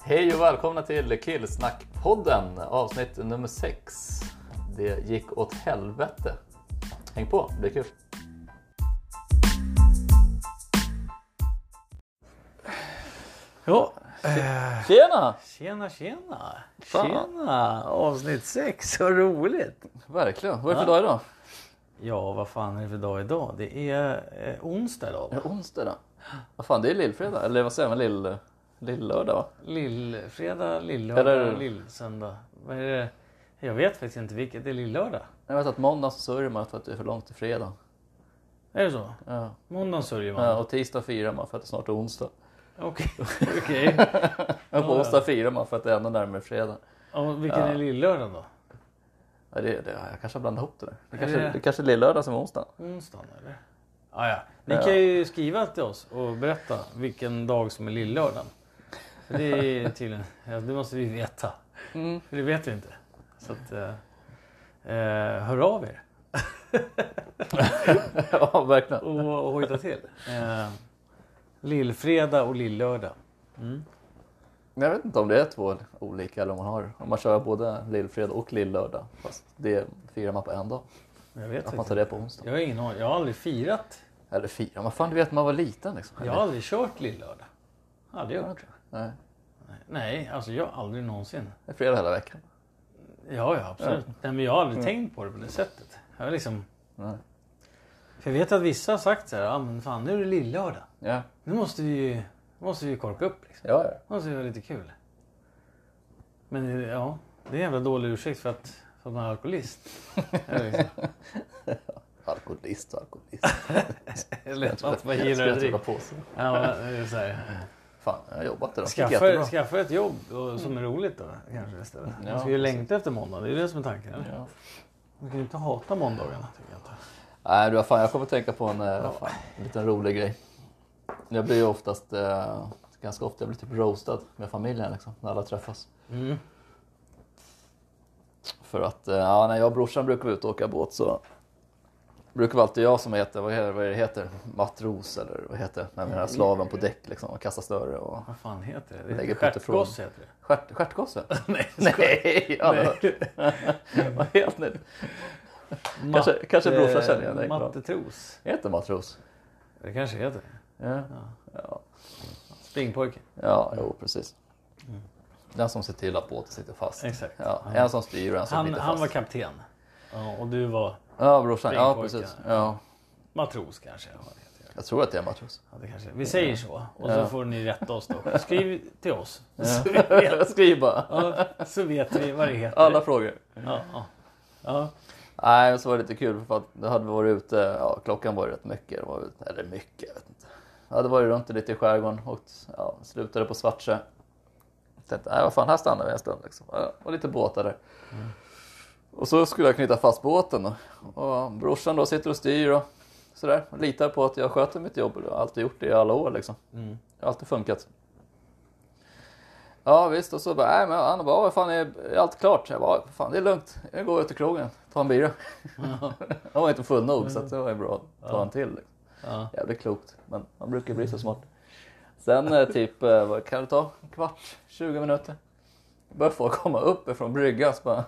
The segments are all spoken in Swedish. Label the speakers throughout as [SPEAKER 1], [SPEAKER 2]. [SPEAKER 1] Hej och välkomna till Killsnackpodden avsnitt nummer 6. Det gick åt helvete. Häng på, det blir kul.
[SPEAKER 2] Ja.
[SPEAKER 1] Tjena!
[SPEAKER 2] Tjena, tjena.
[SPEAKER 1] Fan.
[SPEAKER 2] Tjena. Avsnitt 6, så roligt.
[SPEAKER 1] Verkligen, vad är det för
[SPEAKER 2] Ja.
[SPEAKER 1] dag idag?
[SPEAKER 2] Ja, vad fan är det för dag idag? Det är eh, onsdag idag.
[SPEAKER 1] Är
[SPEAKER 2] va?
[SPEAKER 1] det onsdag idag? Vad fan, det är lillfredag, eller vad säger man, lill... Lillördag va?
[SPEAKER 2] Lillfredag, lillördag,
[SPEAKER 1] Eller-
[SPEAKER 2] lillsöndag. Vad är det? Jag vet faktiskt inte vilket. Det är lillördag.
[SPEAKER 1] Jag vet att måndag så sörjer man för att det är för långt till fredag.
[SPEAKER 2] Är det så?
[SPEAKER 1] Ja.
[SPEAKER 2] Måndag sörjer man.
[SPEAKER 1] Ja, och tisdag firar man för att det snart är onsdag.
[SPEAKER 2] Okej. Okej.
[SPEAKER 1] Och på
[SPEAKER 2] Ja.
[SPEAKER 1] onsdag firar man för att det är ännu närmare fredag.
[SPEAKER 2] Och vilken
[SPEAKER 1] Ja.
[SPEAKER 2] är lillördagen då?
[SPEAKER 1] Ja, det, det, jag kanske har blandat ihop det där. Det kanske,
[SPEAKER 2] det-
[SPEAKER 1] det kanske är lillördag som är onsdag.
[SPEAKER 2] Onsdagen eller? Ah, ja. Ni
[SPEAKER 1] Ja.
[SPEAKER 2] kan ju skriva till oss och berätta vilken dag som är lillördagen. För Det är tydligen, ja, det måste vi veta.
[SPEAKER 1] Mm.
[SPEAKER 2] För det vet vi inte. Så att, eh, eh, hör av er
[SPEAKER 1] ja, verkligen.
[SPEAKER 2] och, och hojta till. Eh, lillfredag och lillördag.
[SPEAKER 1] Jag vet inte om det är två olika eller om man har om man kör både lillfredag och lillördag. Fast det firar man på en dag.
[SPEAKER 2] Jag vet
[SPEAKER 1] Att man
[SPEAKER 2] inte.
[SPEAKER 1] tar det på onsdag.
[SPEAKER 2] Jag har ingen aning. Jag har aldrig firat.
[SPEAKER 1] Eller firar man? Fan du vet man var liten liksom.
[SPEAKER 2] Jag har aldrig kört lillördag. Aldrig gjort.
[SPEAKER 1] Nej,
[SPEAKER 2] Nej, alltså jag har aldrig någonsin.
[SPEAKER 1] det är fredag hela veckan.
[SPEAKER 2] Ja, ja absolut. Nej, men jag har
[SPEAKER 1] Mm.
[SPEAKER 2] aldrig tänkt på det på det sättet. Jag har liksom...
[SPEAKER 1] Nej.
[SPEAKER 2] För jag vet att vissa har sagt så här, ah, men fan nu är det lillördag.
[SPEAKER 1] Ja,
[SPEAKER 2] Nu måste vi ju, måste vi ju korka upp liksom.
[SPEAKER 1] ja, ja.
[SPEAKER 2] Nu måste vi ha lite kul. Men ja, det är en jävla dålig ursäkt för att, för att man är alkoholist. Eller liksom.
[SPEAKER 1] Alkoholist och alkoholist.
[SPEAKER 2] Eller att man
[SPEAKER 1] Jag
[SPEAKER 2] gillar
[SPEAKER 1] skulle
[SPEAKER 2] att
[SPEAKER 1] inte
[SPEAKER 2] dricka.
[SPEAKER 1] hålla på så.
[SPEAKER 2] Ja, men det är så här.
[SPEAKER 1] Fan, jag har jobbat idag. Det gick jättebra.
[SPEAKER 2] Skaffa, skaffa ett jobb och, som är roligt då kanske istället. Man ska ju
[SPEAKER 1] precis.
[SPEAKER 2] längta efter måndag, det är ju det som är tanken. Eller?
[SPEAKER 1] Ja.
[SPEAKER 2] Man kan ju inte hata måndagarna tycker jag inte.
[SPEAKER 1] Nej du, fan, jag kommer att tänka på en, eh, fan, en liten rolig grej. Jag blir ju oftast, eh, ganska ofta, jag blir typ roastad med familjen liksom, när alla träffas.
[SPEAKER 2] Mm.
[SPEAKER 1] För att eh, ja, när jag och brorsan brukar vara ute och åka båt så brukar väl alltid jag som heter, vad heter, vad är det heter? matros eller vad heter det? Den här slaven på däck liksom och kastar snöre och
[SPEAKER 2] Vad fan heter det? det
[SPEAKER 1] Lägger
[SPEAKER 2] heter
[SPEAKER 1] på inte från.
[SPEAKER 2] Stjärtgoss heter det.
[SPEAKER 1] Stjärt, stjärtgosse?
[SPEAKER 2] Nej,
[SPEAKER 1] Nej,
[SPEAKER 2] jag skojar. Mm.
[SPEAKER 1] jag har aldrig hört. Vad heter det? Kanske-
[SPEAKER 2] Matte-
[SPEAKER 1] kanske brorsan känner igen dig.
[SPEAKER 2] Mattetros.
[SPEAKER 1] Heter det matros?
[SPEAKER 2] Det kanske heter.
[SPEAKER 1] Ja,
[SPEAKER 2] Springpojken.
[SPEAKER 1] ja jo precis. Den som ser till att båten sitter fast.
[SPEAKER 2] Mm. Exakt.
[SPEAKER 1] Ja, en som styr och en som
[SPEAKER 2] Han,
[SPEAKER 1] sitter
[SPEAKER 2] han
[SPEAKER 1] fast.
[SPEAKER 2] var kapten. Ja, och du var
[SPEAKER 1] Ja, brorsan. Ja,
[SPEAKER 2] Springpojken.
[SPEAKER 1] precis. Ja,
[SPEAKER 2] matros kanske. Ja, det heter det.
[SPEAKER 1] jag tror att det är matros.
[SPEAKER 2] Ja, det kanske. Vi säger så. Och
[SPEAKER 1] Ja.
[SPEAKER 2] så får ni rätta oss då. Skriv till oss. Så, vi vet,
[SPEAKER 1] Ja. Skriv bara.
[SPEAKER 2] ja, så vet vi vad det heter.
[SPEAKER 1] Alla frågor.
[SPEAKER 2] Ja, ja. Ja,
[SPEAKER 1] Nej, men så var det lite kul för att då hade vi varit ute, ja, klockan var ju rätt mycket, det var, väl- eller mycket, jag vet inte. Jag hade varit runt lite i skärgården och ja, slutade på Svartsjö. Tänkte, nej vad fan, här stannar vi en stund liksom. Ja, Och lite båtar där. Och så skulle jag knyta fast båten och, och brorsan då sitter och styr och sådär. Och litar på att jag sköter mitt jobb, jag har alltid gjort det i alla år liksom.
[SPEAKER 2] Mm.
[SPEAKER 1] Det har alltid funkat. Ja visst, och så bara, nej men han bara, "Ja, vad fan är, är allt klart? Jag bara, "Ja, fan det är lugnt, jag går ut till krogen, tar en bira. Han var inte full nog så att det var ju bra att ta en till. liksom.
[SPEAKER 2] ja.
[SPEAKER 1] Jävligt klokt, men man brukar bli så smart. Sen eh, typ, eh, vad kan det ta? En kvart, 20 minuter. Börjar folk komma upp ifrån bryggan så bara,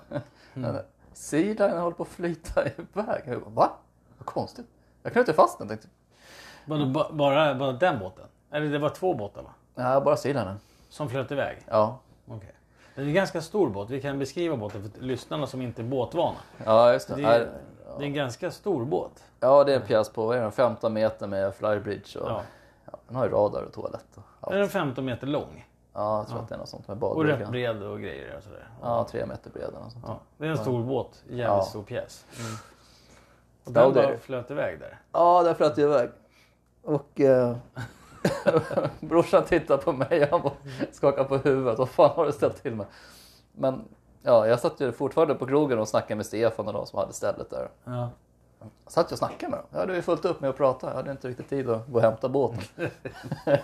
[SPEAKER 1] Sealinen håller på att flyta iväg. Jag bara, va? Vad konstigt. Jag knöt ju fast den tänkte
[SPEAKER 2] Bara, ba- bara, bara den båten? Eller det var två båtar va?
[SPEAKER 1] Nej, bara Sealinen.
[SPEAKER 2] Som flöt iväg?
[SPEAKER 1] Ja,
[SPEAKER 2] Okej. Det är en ganska stor båt. Vi kan beskriva båten för lyssnarna som inte är båtvana.
[SPEAKER 1] ja just det.
[SPEAKER 2] Det
[SPEAKER 1] Nej,
[SPEAKER 2] är, det är en ganska stor båt.
[SPEAKER 1] Ja, det är en pjäs på vad är den, 15 meter med flybridge. Och, ja.
[SPEAKER 2] Ja.
[SPEAKER 1] den har ju radar och toalett. Och, allt.
[SPEAKER 2] Den är 15 meter lång.
[SPEAKER 1] ja, jag tror att det är något sånt med
[SPEAKER 2] Och rätt
[SPEAKER 1] badbrygga.
[SPEAKER 2] bred och grejer. Och sådär.
[SPEAKER 1] Ja, tre meter bred eller något sånt.
[SPEAKER 2] Ja, det är en stor båt, jävligt
[SPEAKER 1] Ja.
[SPEAKER 2] stor pjäs. Och
[SPEAKER 1] Ja,
[SPEAKER 2] den
[SPEAKER 1] det är
[SPEAKER 2] bara
[SPEAKER 1] det.
[SPEAKER 2] flöt iväg där.
[SPEAKER 1] Ja, där flöt jag iväg. Och eh, brorsan tittade på mig och han bara skakade på huvudet. Vad fan har du ställt till med? Men ja, jag satt ju fortfarande på krogen och snackade med Stefan och de som hade stället där.
[SPEAKER 2] Ja.
[SPEAKER 1] Jag satt ju och snackade med dem. Jag hade ju fullt upp med att prata. Jag hade inte riktigt tid att gå och hämta båten.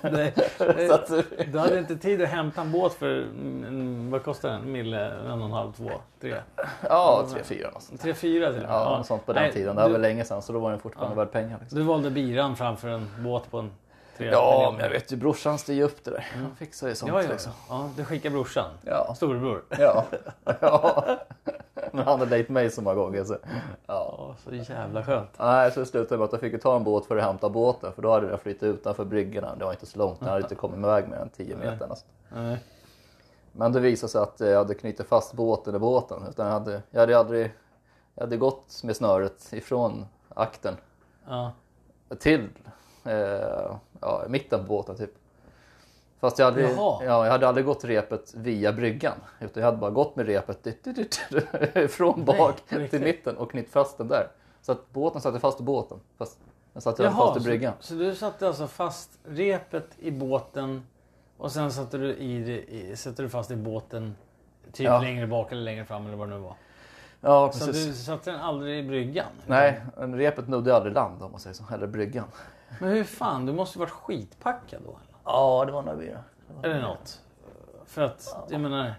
[SPEAKER 2] Nej,
[SPEAKER 1] Så att,
[SPEAKER 2] du hade inte tid att hämta en båt för, mm, vad kostar den? Mille, en och en halv, två, tre?
[SPEAKER 1] ja, tre, fyra något sånt.
[SPEAKER 2] Tre, fyra till och med.
[SPEAKER 1] Ja, något sånt på den
[SPEAKER 2] Nej,
[SPEAKER 1] tiden. Det här
[SPEAKER 2] du,
[SPEAKER 1] var länge sedan så då var den fortfarande värd pengar. Liksom.
[SPEAKER 2] du valde biran framför en båt på en Tre
[SPEAKER 1] Ja,
[SPEAKER 2] miljoner.
[SPEAKER 1] men jag vet ju brorsan styr ju upp det där. Han fixar ju sånt
[SPEAKER 2] Ja, ja.
[SPEAKER 1] liksom.
[SPEAKER 2] ja, du skickar brorsan.
[SPEAKER 1] Ja.
[SPEAKER 2] Storebror.
[SPEAKER 1] Ja. ja. Men han har dejt mig så många gånger. Så. Ja.
[SPEAKER 2] Ja, så jävla skönt.
[SPEAKER 1] Nej, så det slutade med att jag fick ju ta en båt för att hämta båten. För då hade den flyttat utanför bryggorna. Det var inte så långt. Den hade inte kommit iväg mer än 10 meter. Nästan.
[SPEAKER 2] Nej.
[SPEAKER 1] Men det visade sig att jag hade knutit fast båten i båten. Utan jag, hade, jag, hade aldrig, jag hade gått med snöret ifrån akten
[SPEAKER 2] Ja.
[SPEAKER 1] till eh, ja, mitten på båten typ. Fast jag hade,
[SPEAKER 2] Jaha.
[SPEAKER 1] ja, jag hade aldrig gått repet via bryggan. Utan jag hade bara gått med repet dit, dit, dit, dit, från
[SPEAKER 2] Nej,
[SPEAKER 1] bak
[SPEAKER 2] på riktigt.
[SPEAKER 1] till mitten och knytt fast den där. Så att båten satte fast i båten. Fast den satte jag fast i bryggan.
[SPEAKER 2] så, så du satte alltså fast repet i båten och sen satte du, i, det- i, satte du fast i båten typ
[SPEAKER 1] Ja.
[SPEAKER 2] längre bak eller längre fram eller vad det nu var.
[SPEAKER 1] Ja,
[SPEAKER 2] Så
[SPEAKER 1] precis.
[SPEAKER 2] du satte den aldrig i bryggan?
[SPEAKER 1] Nej, repet nuddade aldrig land om man säger så. Eller bryggan.
[SPEAKER 2] Men hur fan, du måste ju varit skitpackad då? Eller,
[SPEAKER 1] Ja, det var nog vi
[SPEAKER 2] eller något. För att, jag menar,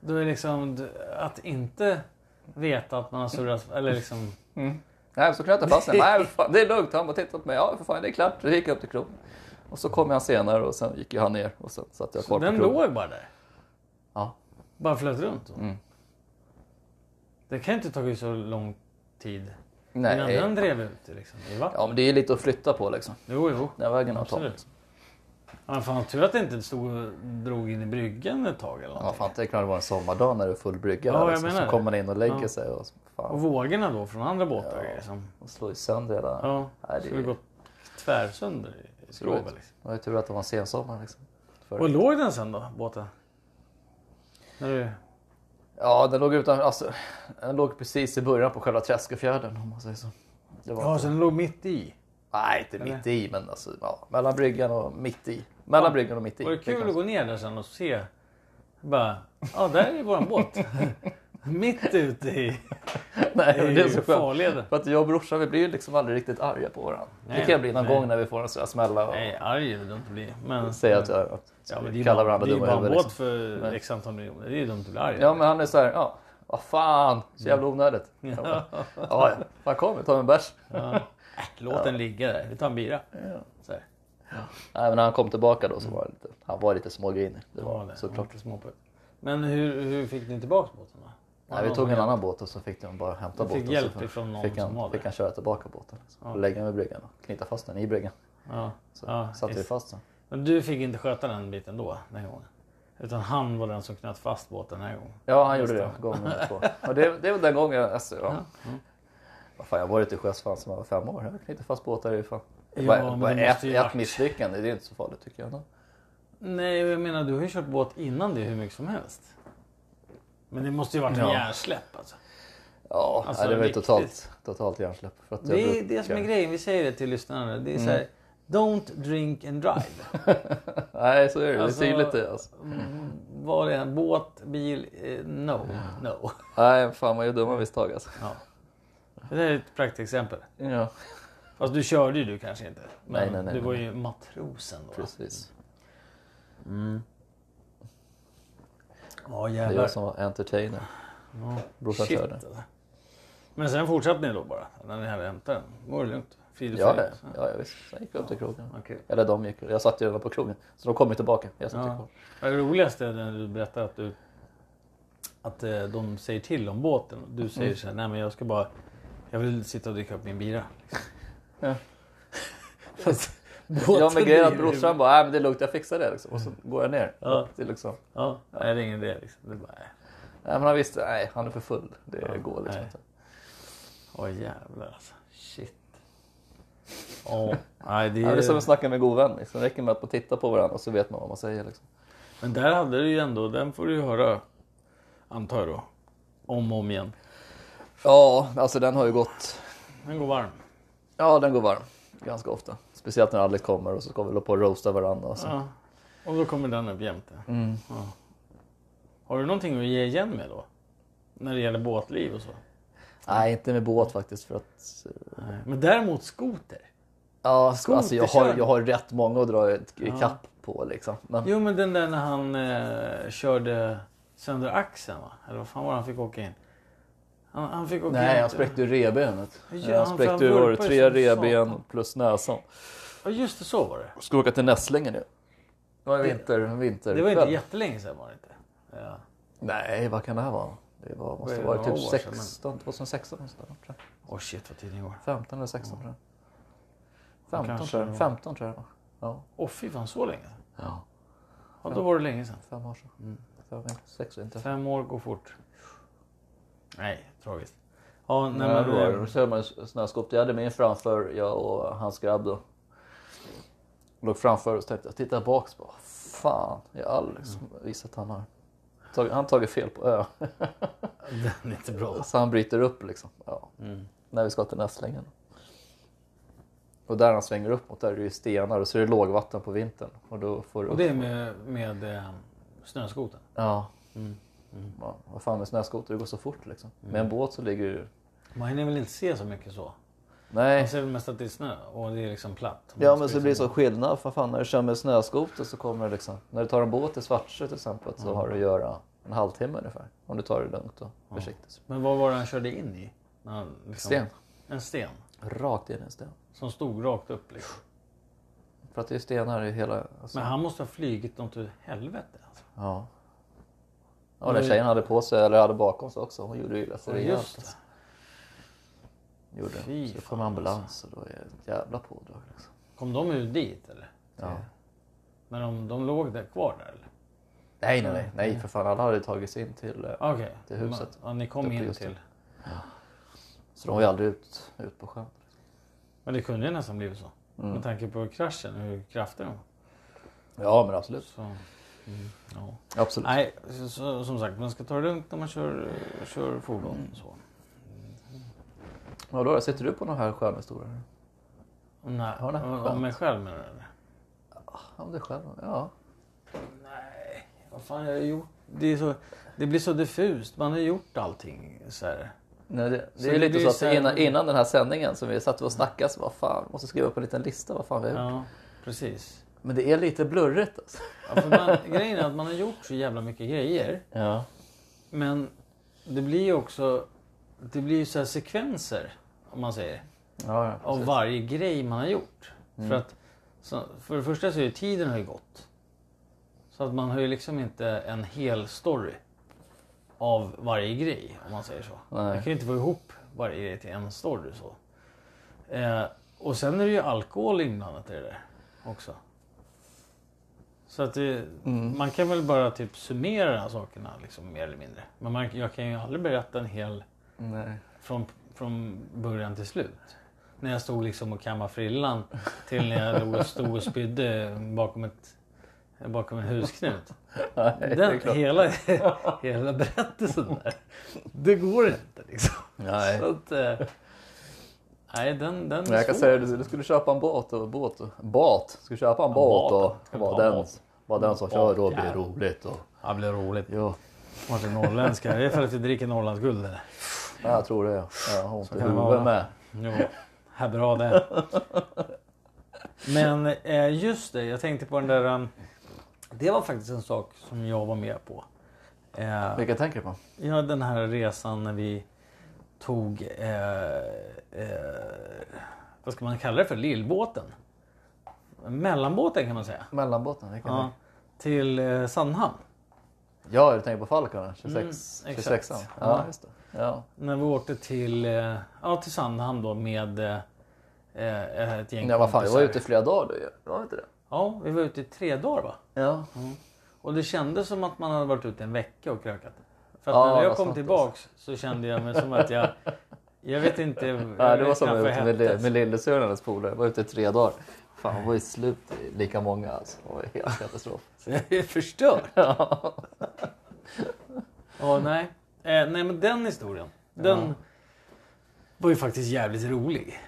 [SPEAKER 2] då är liksom du- att inte veta att man har surrat, eller liksom...
[SPEAKER 1] Nej, så knöt jag fast den. Nej, fan, det är lugnt. Han bara tittade på mig. Ja, för fan, det är klart. Så gick jag upp till krogen. Och så kom han senare och sen gick ju han ner och sen satt jag kvar
[SPEAKER 2] Den
[SPEAKER 1] på krogen.
[SPEAKER 2] låg bara där?
[SPEAKER 1] Ja. Mm.
[SPEAKER 2] Bara flöt runt? Då. Det kan ju inte tagit så lång tid innan den
[SPEAKER 1] Nej. eh,
[SPEAKER 2] drev ut liksom, i vattnet.
[SPEAKER 1] Ja, men det är lite att flytta på liksom.
[SPEAKER 2] Jo, jo.
[SPEAKER 1] Den vägen har tagit.
[SPEAKER 2] Absolut. Ja, fan, tur att det inte stod och drog in i bryggan ett tag eller
[SPEAKER 1] Ja,
[SPEAKER 2] någonting.
[SPEAKER 1] fan tänk när det var en sommardag när det är full brygga
[SPEAKER 2] Ja,
[SPEAKER 1] här,
[SPEAKER 2] jag
[SPEAKER 1] liksom,
[SPEAKER 2] menar
[SPEAKER 1] så
[SPEAKER 2] det.
[SPEAKER 1] kommer man in och lägger
[SPEAKER 2] Ja.
[SPEAKER 1] sig och, så-
[SPEAKER 2] Och
[SPEAKER 1] fan,
[SPEAKER 2] vågorna då från andra båtar
[SPEAKER 1] Ja.
[SPEAKER 2] liksom.
[SPEAKER 1] och slår ju sönder hela...
[SPEAKER 2] Ja,
[SPEAKER 1] Nej, det
[SPEAKER 2] skulle
[SPEAKER 1] är
[SPEAKER 2] gå tvärsönder i skroven.
[SPEAKER 1] otroligt.
[SPEAKER 2] Liksom.
[SPEAKER 1] Det var ju tur att det var en sensommar liksom. För-
[SPEAKER 2] Och låg den sen då, båten? När du...
[SPEAKER 1] Ja, den låg utan, alltså, den låg precis i början på själva Träskefjärden om man säger så. Det var...
[SPEAKER 2] Ja, så den låg mitt i.
[SPEAKER 1] Nej, inte
[SPEAKER 2] Eller?
[SPEAKER 1] mitt i men alltså, ja, mellan bryggan och mitt i. Mellan bryggan och mitt i.
[SPEAKER 2] Var det
[SPEAKER 1] kan
[SPEAKER 2] kul
[SPEAKER 1] man
[SPEAKER 2] att gå ner där sen och se? Bara, ja där är våran båt. Mitt ute i,
[SPEAKER 1] Nej, men det är
[SPEAKER 2] i
[SPEAKER 1] så skönt.
[SPEAKER 2] farleden.
[SPEAKER 1] För att jag och brorsan vi blir ju liksom aldrig riktigt arga på varandra.
[SPEAKER 2] Nej,
[SPEAKER 1] det kan jag bli någon
[SPEAKER 2] nej.
[SPEAKER 1] gång när vi får en sån här smälla och
[SPEAKER 2] Nej, arg vill du inte bli. Men,
[SPEAKER 1] säga att, jag, att
[SPEAKER 2] ja, men det
[SPEAKER 1] vi
[SPEAKER 2] är
[SPEAKER 1] kallar
[SPEAKER 2] bara-
[SPEAKER 1] varandra
[SPEAKER 2] Det är ju
[SPEAKER 1] dumma i
[SPEAKER 2] bara en
[SPEAKER 1] huvudet.
[SPEAKER 2] båt
[SPEAKER 1] Liksom.
[SPEAKER 2] för
[SPEAKER 1] Nej.
[SPEAKER 2] x antal miljoner. Det är ju dumt att bli arg.
[SPEAKER 1] Ja men han är så här, ja, vad fan,
[SPEAKER 2] Mm.
[SPEAKER 1] så jävla onödigt. Jag bara, Ja, ja, fan kom vi tar en bärs.
[SPEAKER 2] Ja. Äh, Låt den ligga där. Vi tar en bira. Så här.
[SPEAKER 1] Nej men när han kom tillbaka då så var han lite, han var lite smågrinig. Det
[SPEAKER 2] Ja,
[SPEAKER 1] var
[SPEAKER 2] det.
[SPEAKER 1] såklart.
[SPEAKER 2] Lite småputt. Men hur, hur fick ni tillbaka båten då?
[SPEAKER 1] Nej, vi tog en annan båt och så fick de bara hämta
[SPEAKER 2] Du
[SPEAKER 1] båten.
[SPEAKER 2] fick hjälp
[SPEAKER 1] så
[SPEAKER 2] ifrån någon
[SPEAKER 1] fick
[SPEAKER 2] som var
[SPEAKER 1] han,
[SPEAKER 2] där.
[SPEAKER 1] fick han köra tillbaka båten. Liksom. Och lägga den vid bryggan och knyta fast den i bryggan.
[SPEAKER 2] Ja,
[SPEAKER 1] Så
[SPEAKER 2] ja,
[SPEAKER 1] satte vi
[SPEAKER 2] visst.
[SPEAKER 1] fast den.
[SPEAKER 2] Men du fick inte sköta den biten då, den här gången. Utan han var den som knöt fast båten den här gången.
[SPEAKER 1] Ja, han gjorde det. Gång nummer två. Och det, det är väl den gången jag... Alltså, ja. Vad fan, jag har varit i sjös fan som jag var fem år. Jag knyter fast båtar i fan. Det är
[SPEAKER 2] Ja,
[SPEAKER 1] bara,
[SPEAKER 2] men
[SPEAKER 1] bara
[SPEAKER 2] det
[SPEAKER 1] ett,
[SPEAKER 2] måste ju
[SPEAKER 1] ett
[SPEAKER 2] varit-
[SPEAKER 1] misslyckande, det är inte så farligt tycker jag.
[SPEAKER 2] Nej, jag menar du har ju kört båt innan det hur mycket som helst. Men det måste ju varit
[SPEAKER 1] Ja.
[SPEAKER 2] en hjärnsläpp alltså.
[SPEAKER 1] Ja,
[SPEAKER 2] Alltså,
[SPEAKER 1] nej, det var ju
[SPEAKER 2] riktigt.
[SPEAKER 1] totalt, totalt hjärnsläpp. För att jag
[SPEAKER 2] Det är
[SPEAKER 1] brukar- Mm.
[SPEAKER 2] det som är grejen, vi säger det till lyssnarna. Det är så här, don't drink and drive.
[SPEAKER 1] Nej, så är det.
[SPEAKER 2] Alltså-
[SPEAKER 1] Det är tydligt det. Alltså.
[SPEAKER 2] Var det en båt, bil, eh, no, no.
[SPEAKER 1] Nej, fan man gör dumma misstag alltså.
[SPEAKER 2] Ja. Det där är ett praktexempel.
[SPEAKER 1] Ja,
[SPEAKER 2] Fast du körde ju du kanske inte. Men
[SPEAKER 1] Nej, nej, nej,
[SPEAKER 2] du
[SPEAKER 1] nej.
[SPEAKER 2] var ju matrosen då.
[SPEAKER 1] precis. Det
[SPEAKER 2] Ja,
[SPEAKER 1] är
[SPEAKER 2] Mm. jävlar.
[SPEAKER 1] jag som var entertainer.
[SPEAKER 2] Ja.
[SPEAKER 1] Brorsan
[SPEAKER 2] Shit,
[SPEAKER 1] körde.
[SPEAKER 2] alltså. Men sen fortsatte ni då bara? När ni hade hämtat den? Var det lugnt? Frid och
[SPEAKER 1] Ja,
[SPEAKER 2] fröjd?
[SPEAKER 1] ja, ja, visst. Sen gick vi upp till krogen.
[SPEAKER 2] Okej.
[SPEAKER 1] Eller de gick. Jag satt ju redan på krogen. Så de kom ju tillbaka. Jag satt ju kvar.
[SPEAKER 2] Ja. Det roligaste är när du berättar att du... Att eh, de säger till om båten. Och Du säger
[SPEAKER 1] Mm.
[SPEAKER 2] så här, nej men jag ska bara... Jag vill sitta och dricka upp min bira. Liksom.
[SPEAKER 1] Ja.
[SPEAKER 2] Fast
[SPEAKER 1] Ja men grejen är att
[SPEAKER 2] driver ju-
[SPEAKER 1] brorsan bara, nej men det är lugnt jag fixar det liksom. Och så går jag ner.
[SPEAKER 2] Mm. Ja.
[SPEAKER 1] Det är liksom,
[SPEAKER 2] Ja, nej, det är ingen idé liksom. Det är bara, nej.
[SPEAKER 1] nej men han visste, nej han är för full. Det går liksom
[SPEAKER 2] nej.
[SPEAKER 1] inte.
[SPEAKER 2] Åh jävlar alltså. Shit. Åh, nej det
[SPEAKER 1] Ja,
[SPEAKER 2] är...
[SPEAKER 1] det är som att snacka med en god vän. Liksom. Det räcker med att man tittar på varandra och så vet man vad man säger. Liksom.
[SPEAKER 2] Men där hade du ju ändå, den får du ju höra, antar jag då, om och om igen.
[SPEAKER 1] Ja, alltså den har ju gått,
[SPEAKER 2] Den går varm.
[SPEAKER 1] ja den går varm ganska ofta. Speciellt när Alex kommer och så ska vi hålla på och roasta varandra. Och så. Mm.
[SPEAKER 2] Ja. Och då kommer den upp jämte. Ja. Har du någonting att ge igen med då? När det gäller båtliv och så?
[SPEAKER 1] Nej, inte med båt faktiskt för att, eh,
[SPEAKER 2] Nej. Men däremot skoter?
[SPEAKER 1] ja alltså jag har,
[SPEAKER 2] Skoterkörning.
[SPEAKER 1] jag har rätt många att dra i i kapp på liksom. Men,
[SPEAKER 2] Jo men den där när han eh, körde sönder axeln va? Eller vad fan var det han fick åka in? Han, han fick åka in.
[SPEAKER 1] nej, han spräckte ju revbenet.
[SPEAKER 2] Ja,
[SPEAKER 1] han
[SPEAKER 2] för han
[SPEAKER 1] spräckte ju var det
[SPEAKER 2] vurpar
[SPEAKER 1] tre
[SPEAKER 2] ju som
[SPEAKER 1] revben
[SPEAKER 2] satan.
[SPEAKER 1] plus näsan.
[SPEAKER 2] Ja just det, så var det.
[SPEAKER 1] Ska åka till Nässlingen nu. Det var en vinter, vinter.
[SPEAKER 2] Det var inte jättelänge sedan var det inte? Ja.
[SPEAKER 1] Nej, vad kan det här vara? Det var,
[SPEAKER 2] Vad är
[SPEAKER 1] måste
[SPEAKER 2] det,
[SPEAKER 1] ha varit
[SPEAKER 2] några
[SPEAKER 1] typ
[SPEAKER 2] år sedan, men-
[SPEAKER 1] 16, 2016 någonstans, tror jag.
[SPEAKER 2] Åh shit vad tiden går.
[SPEAKER 1] 15 eller 16 tror jag. 15
[SPEAKER 2] Kanske
[SPEAKER 1] tror
[SPEAKER 2] det
[SPEAKER 1] jag.
[SPEAKER 2] var.
[SPEAKER 1] 15 tror jag det var. Ja.
[SPEAKER 2] Åh fy fan så länge sedan.
[SPEAKER 1] ja. Mm.
[SPEAKER 2] Ja, då var det länge sedan.
[SPEAKER 1] Fem år sedan. Fem, sex år inte.
[SPEAKER 2] Fem år går fort. Nej, tragiskt. Ja, nej,
[SPEAKER 1] Nej,
[SPEAKER 2] men,
[SPEAKER 1] det var det. Så hade man ju snöskop. Jag hade min framför, jag och hans grabb då. Låg framför och så tänkte jag, titta bak så bara, fan, jag har aldrig liksom visat att han har tagit, han har tagit fel på ö.
[SPEAKER 2] den är inte bra.
[SPEAKER 1] så han bryter upp liksom. Ja.
[SPEAKER 2] Mm.
[SPEAKER 1] När vi ska till Nässlingen. Och där han svänger upp mot, där är det ju stenar och så är det lågvatten på vintern. Och då får du
[SPEAKER 2] Och det är med, med eh, snöskoten.
[SPEAKER 1] Ja.
[SPEAKER 2] Mm.
[SPEAKER 1] Ja, vad fan med snöskoter, det går så fort liksom. Med en båt så ligger du...
[SPEAKER 2] Man hinner väl inte se så mycket så?
[SPEAKER 1] Nej.
[SPEAKER 2] Man ser väl mest att det är snö och det är liksom platt. Man
[SPEAKER 1] Ja men
[SPEAKER 2] ska
[SPEAKER 1] så
[SPEAKER 2] liksom-
[SPEAKER 1] blir det så skillnad. För fan, när du kör med snöskoter så kommer det liksom. När du tar en båt till Svartsjö till exempel så har du att göra en halvtimme ungefär. Om du tar det lugnt och försiktigt.
[SPEAKER 2] Men vad var det han körde in i? När han liksom-
[SPEAKER 1] Sten.
[SPEAKER 2] En sten.
[SPEAKER 1] Rakt in i en sten.
[SPEAKER 2] Som stod rakt upp liksom.
[SPEAKER 1] För att det är stenar i hela... Alltså,
[SPEAKER 2] Men han måste ha flygit något ur helvete. Alltså.
[SPEAKER 1] ja. Och den tjejen hade på sig, eller hade bakom sig också. Hon gjorde illa sig
[SPEAKER 2] Ja,
[SPEAKER 1] rejält.
[SPEAKER 2] just det.
[SPEAKER 1] Alltså. Gjorde.
[SPEAKER 2] Fy
[SPEAKER 1] Så kom
[SPEAKER 2] fan, alltså.
[SPEAKER 1] ambulans och då är det ett jävla pådrag. Liksom.
[SPEAKER 2] Kom de ut dit eller?
[SPEAKER 1] Ja.
[SPEAKER 2] Men de, de låg där kvar där eller?
[SPEAKER 1] Nej, nej, nej,
[SPEAKER 2] Mm.
[SPEAKER 1] nej för fan. Alla hade tagit sig in till... eh,
[SPEAKER 2] Okej.
[SPEAKER 1] Till huset.
[SPEAKER 2] Ja, ni kom
[SPEAKER 1] Uppe
[SPEAKER 2] in
[SPEAKER 1] just där.
[SPEAKER 2] till.
[SPEAKER 1] Så de var ju aldrig ut, ut på sjön.
[SPEAKER 2] Men det kunde ju nästan blivit så.
[SPEAKER 1] Mm.
[SPEAKER 2] Med tanke på kraschen, hur kraftig den var.
[SPEAKER 1] Ja, men absolut.
[SPEAKER 2] Så, mm, ja.
[SPEAKER 1] Absolut.
[SPEAKER 2] Nej, så- så, som sagt, man ska ta det lugnt när man kör, kör fordon.
[SPEAKER 1] Mm.
[SPEAKER 2] Så.
[SPEAKER 1] Ja, då, sitter du på någon här skön historia?
[SPEAKER 2] Nej,
[SPEAKER 1] Ja, det är
[SPEAKER 2] om-
[SPEAKER 1] skönt.
[SPEAKER 2] om mig själv menar du? eller?
[SPEAKER 1] Om dig själv? Ja.
[SPEAKER 2] Nej, vad fan jag har gjort? Det, är så, det blir så diffust. Man har gjort allting så här.
[SPEAKER 1] Nej, det, det är
[SPEAKER 2] Så det
[SPEAKER 1] ju
[SPEAKER 2] blir
[SPEAKER 1] lite så att
[SPEAKER 2] så här-
[SPEAKER 1] innan, innan den här sändningen som vi satt och snackade så vad fan, måste skriva upp en liten lista vad fan vi har gjort.
[SPEAKER 2] Ja, precis.
[SPEAKER 1] Men det är lite blurrigt alltså.
[SPEAKER 2] Ja, för man, grejen är att man har gjort så jävla mycket grejer.
[SPEAKER 1] Ja.
[SPEAKER 2] Men det blir ju också det blir ju så här sekvenser, om man säger.
[SPEAKER 1] Ja, ja,
[SPEAKER 2] Av
[SPEAKER 1] precis. Mm.
[SPEAKER 2] varje grej man har gjort. För att så, för det första så är ju tiden har ju gått. Så att man har ju liksom inte en hel story av varje grej, om man säger så.
[SPEAKER 1] Nej.
[SPEAKER 2] Man kan ju inte få ihop varje grej till en story så. Eh, och sen är det ju alkohol inblandat i det där också. Så att det,
[SPEAKER 1] Mm.
[SPEAKER 2] man kan väl bara typ summera sakerna liksom, mer eller mindre. Men man, jag kan ju aldrig berätta en hel
[SPEAKER 1] Nej.
[SPEAKER 2] från, från början till slut. När jag stod liksom och kammade frillan till när jag låg och stod och spydde bakom, ett, bakom en husknut.
[SPEAKER 1] Nej, det är
[SPEAKER 2] Den,
[SPEAKER 1] klart.
[SPEAKER 2] hela, hela berättelsen där, det går inte liksom.
[SPEAKER 1] Nej.
[SPEAKER 2] Så att, eh, nej, den, den är
[SPEAKER 1] Men jag kan
[SPEAKER 2] svår.
[SPEAKER 1] säga att du, du skulle köpa en båt och båt. och- Båt. Skulle köpa en båt
[SPEAKER 2] båt. Ska
[SPEAKER 1] och
[SPEAKER 2] vi ta
[SPEAKER 1] vara den,
[SPEAKER 2] båt?
[SPEAKER 1] var den som
[SPEAKER 2] Båt,
[SPEAKER 1] kör då blir det
[SPEAKER 2] jävlar.
[SPEAKER 1] roligt. Och,
[SPEAKER 2] Ja, det blir roligt.
[SPEAKER 1] ja.
[SPEAKER 2] Martin Norrländska. Det är för att vi dricker Norrlandsguld eller?
[SPEAKER 1] ja, jag tror det. Ja, jag har ont i
[SPEAKER 2] kan det vara.
[SPEAKER 1] huvudet med.
[SPEAKER 2] Jo, här bra det. Men eh, just det, jag tänkte på den där... um, Det var faktiskt en sak som jag var med på. Eh,
[SPEAKER 1] Vilka tänker du på?
[SPEAKER 2] ja, den här resan när vi tog... Eh, eh, vad ska man kalla det för? Lillbåten? Mellanbåten kan man säga.
[SPEAKER 1] Mellanbåten? Vilka
[SPEAKER 2] Ja,
[SPEAKER 1] ja.
[SPEAKER 2] till eh, Sandhamn.
[SPEAKER 1] ja, du tänker på Falcon? 26,
[SPEAKER 2] Mm, exakt.
[SPEAKER 1] 26 ja,
[SPEAKER 2] Ja.
[SPEAKER 1] just det. Ja.
[SPEAKER 2] När vi åkte till, eh, ja, till Sandhamn då med eh, eh, ett gäng
[SPEAKER 1] Ja, vad fan, jag var
[SPEAKER 2] kompisar.
[SPEAKER 1] ute i flera dagar då ju. Var inte det?
[SPEAKER 2] Ja, vi var ute i tre dagar va?
[SPEAKER 1] Ja.
[SPEAKER 2] Och det kändes som att man hade varit ute en vecka och krökat. För att
[SPEAKER 1] Ja,
[SPEAKER 2] när jag
[SPEAKER 1] vad
[SPEAKER 2] kom
[SPEAKER 1] sant
[SPEAKER 2] tillbaks så kände jag mig som att jag... Jag vet inte...
[SPEAKER 1] Ja,
[SPEAKER 2] jag
[SPEAKER 1] det var
[SPEAKER 2] vet
[SPEAKER 1] som
[SPEAKER 2] knappt vad
[SPEAKER 1] med,
[SPEAKER 2] jag
[SPEAKER 1] med,
[SPEAKER 2] hette.
[SPEAKER 1] med lillasyrran och hennes polare. Jag var ute i tre dagar. Fan, hon var ju slut i lika många alltså. Det var ju helt katastrof.
[SPEAKER 2] Så jag är förstörd. Ja, nej. Eh, nej, men den historien. Den var ju faktiskt jävligt rolig.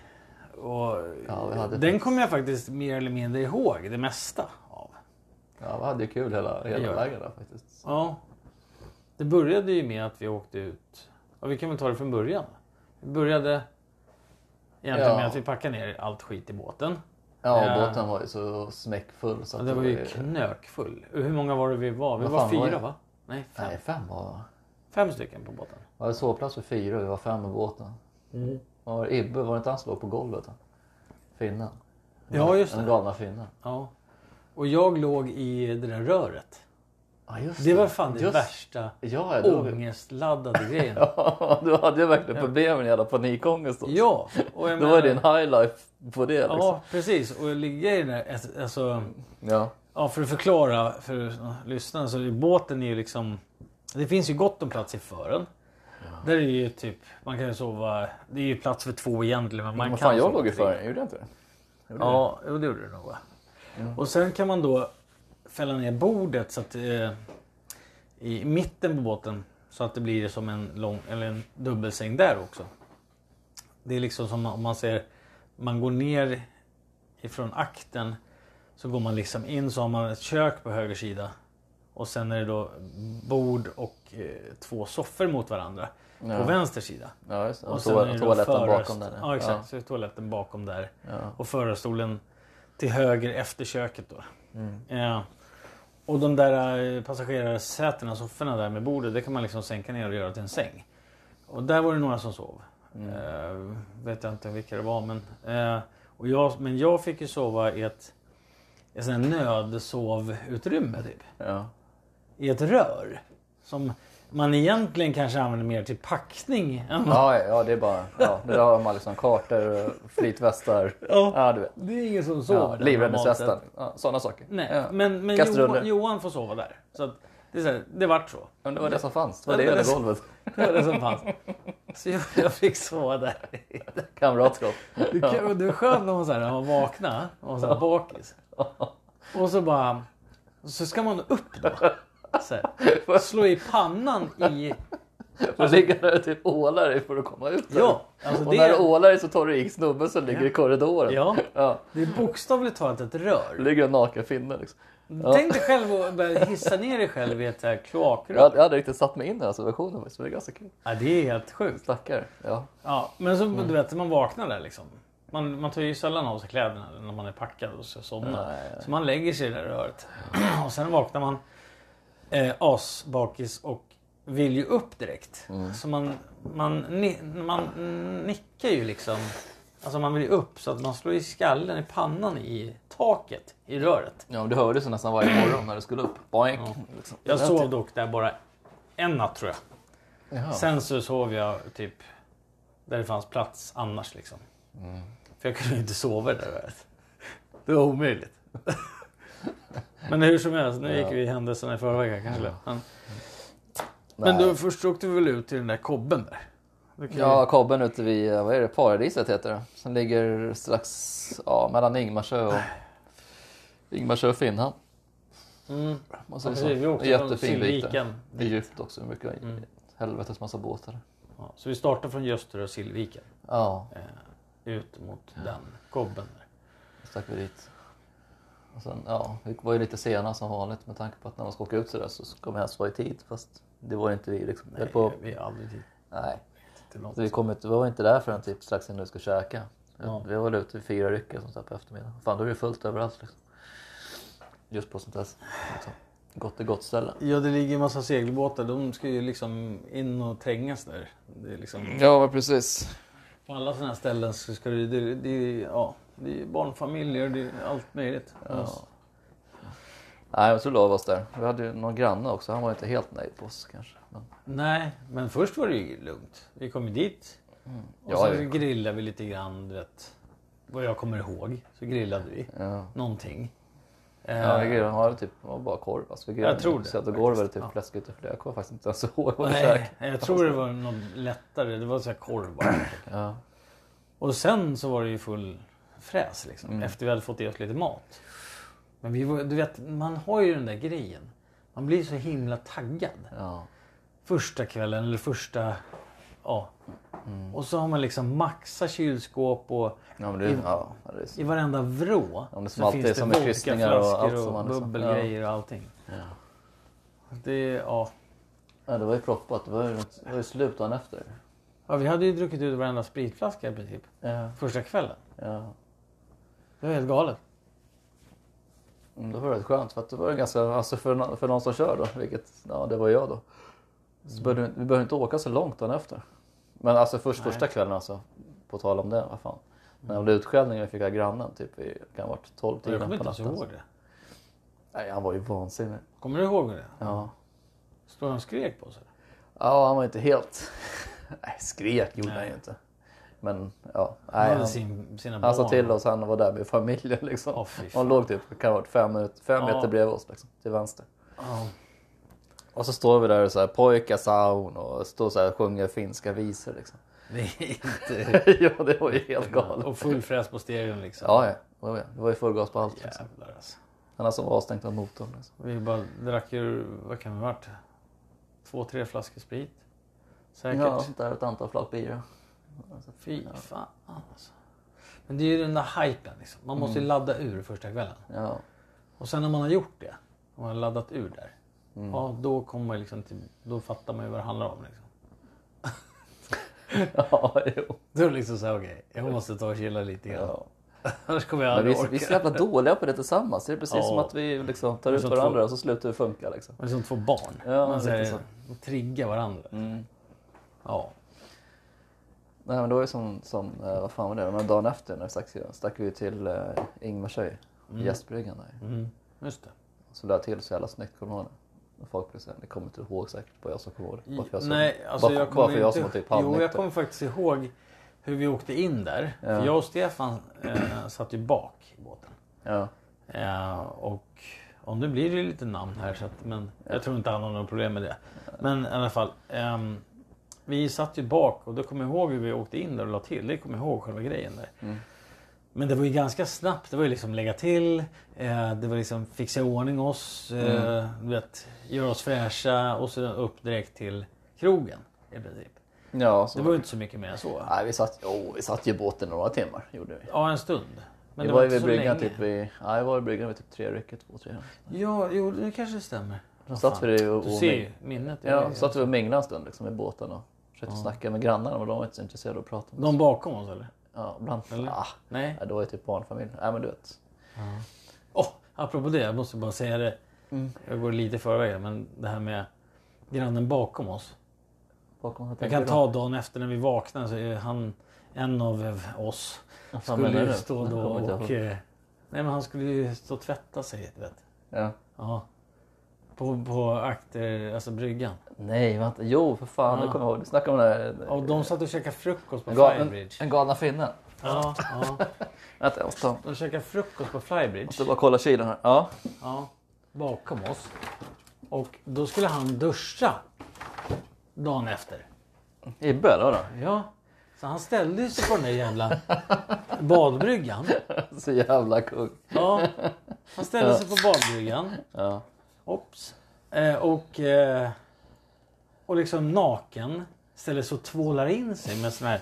[SPEAKER 2] Och
[SPEAKER 1] Ja, vi hade
[SPEAKER 2] den kommer jag faktiskt mer eller mindre ihåg det mesta av.
[SPEAKER 1] Ja, vi hade ju kul hela, hela
[SPEAKER 2] Ja.
[SPEAKER 1] vägen där faktiskt.
[SPEAKER 2] Ja. Det började ju med att vi åkte ut. Ja, vi kan väl ta det från början. Vi började egentligen
[SPEAKER 1] Ja.
[SPEAKER 2] med att vi packade ner allt skit i båten.
[SPEAKER 1] Ja,
[SPEAKER 2] Ja.
[SPEAKER 1] båten var ju så smäckfull så
[SPEAKER 2] Ja,
[SPEAKER 1] att
[SPEAKER 2] det var ju knökfull. Hur många var det vi var? Vi
[SPEAKER 1] Vad
[SPEAKER 2] var
[SPEAKER 1] fan var
[SPEAKER 2] fyra
[SPEAKER 1] det?
[SPEAKER 2] va? Nej, fem.
[SPEAKER 1] Nej, fem var
[SPEAKER 2] Fem stycken på båten.
[SPEAKER 1] Vi hade sovplats för fyra och vi var
[SPEAKER 2] Mm.
[SPEAKER 1] fem i båten. Var det Ibbe, var det inte han som låg på golvet? Finnen.
[SPEAKER 2] Ja, just
[SPEAKER 1] Den
[SPEAKER 2] det.
[SPEAKER 1] galna finnen.
[SPEAKER 2] Ja. Och jag låg i det där röret.
[SPEAKER 1] Ja, just
[SPEAKER 2] Det var fan det
[SPEAKER 1] Just-
[SPEAKER 2] värsta
[SPEAKER 1] Ja, jag låg...
[SPEAKER 2] ångestladdade grejen.
[SPEAKER 1] Ja, du hade ju verkligen problem med jävla panikångest. också.
[SPEAKER 2] Ja, och jag
[SPEAKER 1] Det
[SPEAKER 2] menar-
[SPEAKER 1] var din highlife på det liksom.
[SPEAKER 2] Ja, precis. Och jag ligger i den där... Alltså,
[SPEAKER 1] Ja.
[SPEAKER 2] ja, för att förklara för lyssnarna så är båten är ju liksom... Det finns ju gott om plats i fören. Där är ju typ... Man kan ju sova... Det är ju plats för två egentligen. Men man
[SPEAKER 1] Men
[SPEAKER 2] kan
[SPEAKER 1] fan, jag
[SPEAKER 2] sova
[SPEAKER 1] låg i
[SPEAKER 2] tre.
[SPEAKER 1] fören, gjorde jag inte det?
[SPEAKER 2] Ja, jo, det gjorde det nog va? Och sen kan man då fälla ner bordet så att eh, i mitten på båten så att det blir som en lång eller en dubbelsäng där också. Det är liksom som om man ser man går ner ifrån akten så går man liksom in så har man ett kök på höger sida och sen är det då bord och eh, två soffor mot varandra på vänster sida.
[SPEAKER 1] Ja, just det. Och,
[SPEAKER 2] sen
[SPEAKER 1] toa-
[SPEAKER 2] är det då
[SPEAKER 1] toaletten
[SPEAKER 2] förarst-
[SPEAKER 1] bakom den.
[SPEAKER 2] Ja, exakt. Så är toaletten bakom där.
[SPEAKER 1] Ja.
[SPEAKER 2] Och förarstolen till höger efter köket då.
[SPEAKER 1] Mm.
[SPEAKER 2] Ja. Och de där eh, passagerarsätena, sofforna där med bordet, det kan man liksom sänka ner och göra till en säng. Och där var det några som sov.
[SPEAKER 1] Mm.
[SPEAKER 2] Eh, vet jag inte vilka det var men... eh, och jag, men jag fick ju sova i ett, ett sånt här nödsovutrymme typ.
[SPEAKER 1] Ja. Ja.
[SPEAKER 2] I ett rör. Som man egentligen kanske använder mer till packning än
[SPEAKER 1] Ja, ja, ja, det är bara... Ja, det där har man liksom kartor, eh, flytvästar.
[SPEAKER 2] Ja.
[SPEAKER 1] Ja, du vet.
[SPEAKER 2] Det är ingen som
[SPEAKER 1] Ja,
[SPEAKER 2] sover där normalt sett.
[SPEAKER 1] Livräddningsvästar. Ja, sådana saker.
[SPEAKER 2] Nej,
[SPEAKER 1] Ja.
[SPEAKER 2] men, men
[SPEAKER 1] Kastruller.
[SPEAKER 2] Johan, Johan får sova där. Så att, det, är så här, det vart så.
[SPEAKER 1] Men det var det som fanns. Det
[SPEAKER 2] Ja,
[SPEAKER 1] var det
[SPEAKER 2] det var
[SPEAKER 1] under
[SPEAKER 2] det
[SPEAKER 1] golvet.
[SPEAKER 2] som- Det var det som fanns. Så jag, jag fick sova där.
[SPEAKER 1] Kamratskap.
[SPEAKER 2] Det är kul- det är skönt när man, så här, när man vaknar och så här bakis. Och så bara... Så ska man upp då. Så här, slå i pannan i...
[SPEAKER 1] Och ligga där och typ ålar dig för att komma ut. där.
[SPEAKER 2] Ja, alltså
[SPEAKER 1] och
[SPEAKER 2] det
[SPEAKER 1] när
[SPEAKER 2] är-
[SPEAKER 1] du ålar dig så tar du i snubben som ligger i korridoren.
[SPEAKER 2] Ja.
[SPEAKER 1] ja.
[SPEAKER 2] Det är bokstavligt talat ett rör.
[SPEAKER 1] Ligger en naken finne liksom.
[SPEAKER 2] Tänk dig själv att börja hissa ner dig själv i ett så här
[SPEAKER 1] Jag hade,
[SPEAKER 2] kloakrör.
[SPEAKER 1] jag hade riktigt satt mig in i den här situationen faktiskt, så det är ganska kul.
[SPEAKER 2] Ja, det är helt sjukt.
[SPEAKER 1] Stackare. Ja.
[SPEAKER 2] Ja, men så
[SPEAKER 1] Mm.
[SPEAKER 2] du vet, man vaknar där liksom. Man, man tar ju sällan av sig kläderna när man är packad och ska
[SPEAKER 1] Mm.
[SPEAKER 2] somna. Så man lägger sig i det där röret. och sen vaknar man eh, asbakis och vill ju upp direkt.
[SPEAKER 1] Mm.
[SPEAKER 2] Så man, man, ni, man nickar ju liksom. Alltså man vill ju upp så att man slår i skallen i pannan i taket i röret.
[SPEAKER 1] ja, men du hörde så nästan varje morgon när du skulle upp. Boink. Liksom.
[SPEAKER 2] Jag
[SPEAKER 1] Det lät
[SPEAKER 2] sov
[SPEAKER 1] ju-
[SPEAKER 2] dock där bara en natt tror jag.
[SPEAKER 1] Jaha.
[SPEAKER 2] Sen så sov jag typ där det fanns plats annars liksom.
[SPEAKER 1] Mm.
[SPEAKER 2] För jag kunde ju inte sova i det där röret. Det var omöjligt. Men hur som helst, nu gick vi händelserna i förväg kanske. Men, men
[SPEAKER 1] Nej.
[SPEAKER 2] du, först åkte vi väl ut till den där kobben där? Du kan ju-
[SPEAKER 1] Ja, kobben ute vid, eh, vad är det, Paradiset heter det. Som ligger strax, ja, mellan Ingmarsö och Ingmarsö och Finnhamn.
[SPEAKER 2] Mm.
[SPEAKER 1] Man säger
[SPEAKER 2] Precis,
[SPEAKER 1] så.
[SPEAKER 2] vi åkte
[SPEAKER 1] Jättefin bit
[SPEAKER 2] från
[SPEAKER 1] där.
[SPEAKER 2] Sillviken.
[SPEAKER 1] Det är djupt också, mycket helvetes massa båtar.
[SPEAKER 2] Ja, så vi startade från Ljusterö och Sillviken.
[SPEAKER 1] Ja,
[SPEAKER 2] Ut mot den kobben där.
[SPEAKER 1] så stack vi dit. Och sen, ja, vi var ju lite sena som vanligt med tanke på att när man ska åka ut sådär så ska man helst vara i tid. Fast det var ju inte vi liksom. Nej, på,
[SPEAKER 2] Vi är aldrig dit
[SPEAKER 1] nej.
[SPEAKER 2] till något.
[SPEAKER 1] Så vi, kom ut, vi var inte där förrän typ strax innan vi skulle käka.
[SPEAKER 2] Ja.
[SPEAKER 1] Vi var väl ute vid fyra rycken sånt där på eftermiddagen. Fan, då är det fullt överallt liksom. Just på sånt där liksom, gott och gott ställe.
[SPEAKER 2] Ja, det ligger en massa segelbåtar. De ska ju liksom in och trängas där. Det är liksom,
[SPEAKER 1] Ja, precis.
[SPEAKER 2] på alla sådana här ställen så ska det, det, det, ja, det är barnfamiljer det är allt möjligt. Alltså,
[SPEAKER 1] Nej, jag tror Love oss där. Vi hade ju någon granne också. Han var inte helt nöjd på oss kanske. Men,
[SPEAKER 2] Nej, men först var det ju lugnt. Vi kom ju dit och
[SPEAKER 1] Ja,
[SPEAKER 2] så
[SPEAKER 1] ja.
[SPEAKER 2] grillade vi lite grann. Du vet, vad jag kommer ihåg så grillade vi
[SPEAKER 1] ja.
[SPEAKER 2] någonting.
[SPEAKER 1] Ja,
[SPEAKER 2] Eh,
[SPEAKER 1] vi grillade, har typ, det var bara korv. Alltså, vi grillade
[SPEAKER 2] Jag tror det,
[SPEAKER 1] Så att det går väl
[SPEAKER 2] faktiskt.
[SPEAKER 1] typ
[SPEAKER 2] Ja.
[SPEAKER 1] fläskytterfilé. Jag kommer faktiskt inte ens ihåg vad vi
[SPEAKER 2] Nej,
[SPEAKER 1] käkade.
[SPEAKER 2] jag tror det var något lättare. Det var så här korv bara.
[SPEAKER 1] Ja.
[SPEAKER 2] Och sen så var det ju full fräs liksom.
[SPEAKER 1] Mm.
[SPEAKER 2] Efter vi hade fått i oss lite mat. Men vi var, du vet, man har ju den där grejen. Man blir så himla taggad.
[SPEAKER 1] Ja.
[SPEAKER 2] Första kvällen eller första... Ja.
[SPEAKER 1] Mm.
[SPEAKER 2] Och så har man liksom maxa kylskåp och
[SPEAKER 1] ja, men det, ja, det är så.
[SPEAKER 2] i varenda vrå
[SPEAKER 1] Ja, men som
[SPEAKER 2] så
[SPEAKER 1] alltid
[SPEAKER 2] finns
[SPEAKER 1] är
[SPEAKER 2] det
[SPEAKER 1] som med kryssningar och allt
[SPEAKER 2] vodkaflaskor
[SPEAKER 1] som
[SPEAKER 2] och,
[SPEAKER 1] man liksom-
[SPEAKER 2] bubbelgrejer och allting. Det, ja.
[SPEAKER 1] Ja, det var ju proppat. Det var ju, det var ju slut dagen efter.
[SPEAKER 2] ja, vi hade ju druckit ut varenda spritflaska i princip.
[SPEAKER 1] Ja.
[SPEAKER 2] Första kvällen.
[SPEAKER 1] ja.
[SPEAKER 2] Det var helt galet.
[SPEAKER 1] Mm, Det var rätt skönt för att det var ju ganska, alltså för, nå- för någon som kör då, vilket ja, det var jag då. Så behövde, vi- vi behövde inte åka så långt dagen efter. Men alltså först, första kvällen alltså, på tal om det, vad fan. Den jävla utskällningen vi fick av grannen typ vid, kan ha varit 12
[SPEAKER 2] Mm. Jag kommer
[SPEAKER 1] tiden på
[SPEAKER 2] inte ens
[SPEAKER 1] natten. alltså.
[SPEAKER 2] ihåg Mm. det.
[SPEAKER 1] Nej, han var ju vansinnig.
[SPEAKER 2] Kommer du ihåg det?
[SPEAKER 1] Ja.
[SPEAKER 2] Står han och skrek på oss? eller?
[SPEAKER 1] ja, han var inte helt... Nej, skrek gjorde
[SPEAKER 2] Nej.
[SPEAKER 1] han ju inte. Men ja,
[SPEAKER 2] Han
[SPEAKER 1] nej,
[SPEAKER 2] hade
[SPEAKER 1] han,
[SPEAKER 2] sin, sina barn.
[SPEAKER 1] han sa till oss, han var där med familjen liksom.
[SPEAKER 2] Åh, fy fan.
[SPEAKER 1] han låg typ, kan ha varit fem, minut- fem
[SPEAKER 2] Ja.
[SPEAKER 1] meter bredvid oss liksom, till vänster.
[SPEAKER 2] Ja.
[SPEAKER 1] Och så står vi där och så här pojkar saun och står så här och sjunger finska visor liksom.
[SPEAKER 2] Det är inte...
[SPEAKER 1] ja, det var ju helt galet.
[SPEAKER 2] Och full fräs på stereon liksom.
[SPEAKER 1] Ja, ja. Oh, ja. Det var ju full gas på allt. Liksom.
[SPEAKER 2] Jävlar alltså.
[SPEAKER 1] Han har som var avstängt av motorn. Liksom.
[SPEAKER 2] Vi bara drack ju, vad kan det ha varit? Två, tre flaskor sprit. Säkert.
[SPEAKER 1] Ja, sånt där ett antal flak bira.
[SPEAKER 2] Fy fan alltså. Men det är ju den där hypen liksom. Man
[SPEAKER 1] Mm.
[SPEAKER 2] måste ju ladda ur första kvällen.
[SPEAKER 1] Ja.
[SPEAKER 2] Och sen när man har gjort det, och man har laddat ur där.
[SPEAKER 1] Mm.
[SPEAKER 2] Ja, då kommer man liksom till, då fattar man ju vad det handlar om liksom.
[SPEAKER 1] ja, jo.
[SPEAKER 2] Då är det liksom såhär, okej, jag måste ta och chilla lite grann.
[SPEAKER 1] Ja.
[SPEAKER 2] Annars kommer jag
[SPEAKER 1] Men
[SPEAKER 2] aldrig
[SPEAKER 1] vi,
[SPEAKER 2] orka.
[SPEAKER 1] vi är så jävla dåliga på det tillsammans. Det är precis
[SPEAKER 2] Ja.
[SPEAKER 1] som att vi liksom tar
[SPEAKER 2] är
[SPEAKER 1] ut
[SPEAKER 2] som
[SPEAKER 1] varandra
[SPEAKER 2] två-
[SPEAKER 1] och så slutar det funka. Liksom.
[SPEAKER 2] Man är som två barn.
[SPEAKER 1] Ja,
[SPEAKER 2] man
[SPEAKER 1] lite Mm.
[SPEAKER 2] säger, triggar varandra. Ja.
[SPEAKER 1] Nej, men det var ju som, som eh, vad fan var det, men dagen efter när vi stack, stack vi ju till eh, Ingmarsö, gästbryggan där.
[SPEAKER 2] Mm. Just det.
[SPEAKER 1] Så lade jag till så jävla snyggt, kommer du ihåg det? Och folk blev så här, ni kommer inte ihåg säkert vad jag som kommer ihåg det. Varför jag som-
[SPEAKER 2] Nej, alltså
[SPEAKER 1] varför,
[SPEAKER 2] jag kommer
[SPEAKER 1] varför jag
[SPEAKER 2] inte...
[SPEAKER 1] som var typ
[SPEAKER 2] Jo, jag
[SPEAKER 1] halvnykter.
[SPEAKER 2] kommer faktiskt ihåg hur vi åkte in där. För jag och Stefan eh, satt ju bak i båten.
[SPEAKER 1] Ja.
[SPEAKER 2] Eh, och och nu blir det ju lite namn här, så att, men jag tror inte han har några problem med det. Men i alla fall. ehm, vi satt ju bak och då kommer jag ihåg hur vi åkte in där och la till. Det kommer jag ihåg själva grejen där.
[SPEAKER 1] Mm.
[SPEAKER 2] Men det var ju ganska snabbt. Det var ju liksom lägga till. Eh, det var liksom fixa i ordning oss. Eh,
[SPEAKER 1] Mm.
[SPEAKER 2] du vet, göra oss fräscha och sen upp direkt till krogen. I princip.
[SPEAKER 1] ja, så
[SPEAKER 2] Det var ju inte så mycket mer än så.
[SPEAKER 1] Nej, vi satt, jo, vi satt ju i båten några timmar, gjorde vi.
[SPEAKER 2] Ja, en stund. Men
[SPEAKER 1] vi
[SPEAKER 2] det
[SPEAKER 1] var
[SPEAKER 2] var
[SPEAKER 1] ju
[SPEAKER 2] inte
[SPEAKER 1] vid
[SPEAKER 2] så
[SPEAKER 1] bryggan
[SPEAKER 2] länge.
[SPEAKER 1] typ vid, ja, jag var i bryggan vid typ tre rycket, två, tre.
[SPEAKER 2] Ja, jo, det kanske stämmer.
[SPEAKER 1] Då satt vi där och, och
[SPEAKER 2] Du ser ju alltså- minnet.
[SPEAKER 1] Ja, satt vi och minglade en stund liksom, i båten och försökte snacka med grannarna men de var inte så intresserade av att prata med oss.
[SPEAKER 2] De bakom oss eller?
[SPEAKER 1] Ja, bland...
[SPEAKER 2] Eller?
[SPEAKER 1] Ah,
[SPEAKER 2] Nej.
[SPEAKER 1] nej, det var ju typ barnfamilj. Nej men du vet.
[SPEAKER 2] Oh, apropå det, jag måste bara säga det.
[SPEAKER 1] Mm.
[SPEAKER 2] Jag går lite i förväg men det här med grannen bakom oss.
[SPEAKER 1] Bakom vad
[SPEAKER 2] Jag
[SPEAKER 1] tänker
[SPEAKER 2] kan
[SPEAKER 1] du?
[SPEAKER 2] ta dagen efter när vi vaknar så är han en av eh, oss.
[SPEAKER 1] Vad fan
[SPEAKER 2] Skulle
[SPEAKER 1] menar
[SPEAKER 2] ju
[SPEAKER 1] du?
[SPEAKER 2] stå
[SPEAKER 1] Jag
[SPEAKER 2] då
[SPEAKER 1] kommer inte ihåg.
[SPEAKER 2] och... eh, Nej men han skulle ju stå och tvätta sig. du Vet.
[SPEAKER 1] Ja.
[SPEAKER 2] Ja. På, på akter, alltså bryggan.
[SPEAKER 1] Nej vänta, jo för fan,
[SPEAKER 2] Ja. Oh,
[SPEAKER 1] nu kommer jag ihåg. Du snackade om den här...
[SPEAKER 2] Och de satt och käkade frukost på
[SPEAKER 1] en, gal, en,
[SPEAKER 2] Flybridge.
[SPEAKER 1] en galna finnen.
[SPEAKER 2] Ja, ja.
[SPEAKER 1] Vänta, jag måste ta...
[SPEAKER 2] De käkade frukost på Flybridge.
[SPEAKER 1] måste bara kolla kylen här. Ja.
[SPEAKER 2] Ja, bakom oss. Och då skulle han duscha dagen efter.
[SPEAKER 1] Ibbe eller vadå?
[SPEAKER 2] Ja, så han ställde sig på den där jävla badbryggan.
[SPEAKER 1] Så jävla kung.
[SPEAKER 2] Ja, han ställde sig på badbryggan.
[SPEAKER 1] Ja.
[SPEAKER 2] Ops. Eh, och, eh, och liksom naken. Ställer sig och tvålar in sig med sån här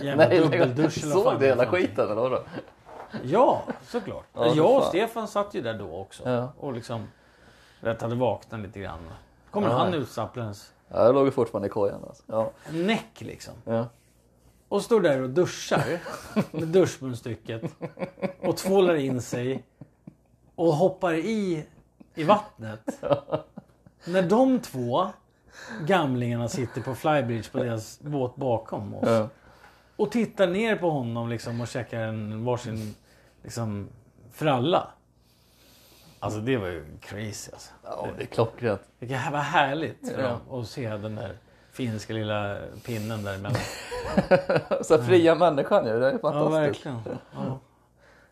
[SPEAKER 2] jävla
[SPEAKER 1] Nej,
[SPEAKER 2] dubbeldusch. eller vad fan
[SPEAKER 1] såg du hela
[SPEAKER 2] för någonting.
[SPEAKER 1] skiten eller vadå?
[SPEAKER 2] Ja, såklart.
[SPEAKER 1] Ja, för
[SPEAKER 2] jag och
[SPEAKER 1] fan.
[SPEAKER 2] Stefan satt ju där då också.
[SPEAKER 1] Ja.
[SPEAKER 2] Och liksom rätt hade vaknat lite grann. Kommer han utstapplandes
[SPEAKER 1] Ja, jag låg ju fortfarande i kojan alltså. Ja.
[SPEAKER 2] näck liksom.
[SPEAKER 1] Ja.
[SPEAKER 2] Och står där och duschar med duschmunstycket. Och tvålar in sig. Och hoppar i i vattnet. När de två gamlingarna sitter på flybridge på deras båt bakom oss.
[SPEAKER 1] Ja.
[SPEAKER 2] Och tittar ner på honom liksom och käkar en varsin liksom, fralla. Alltså det var ju crazy alltså.
[SPEAKER 1] ja, det är klockrent.
[SPEAKER 2] Vilket här var härligt för
[SPEAKER 1] Ja.
[SPEAKER 2] dem att se den där finska lilla pinnen däremellan.
[SPEAKER 1] Så här fria människan ju, det är
[SPEAKER 2] Ja,
[SPEAKER 1] fantastiskt.
[SPEAKER 2] verkligen. Ja.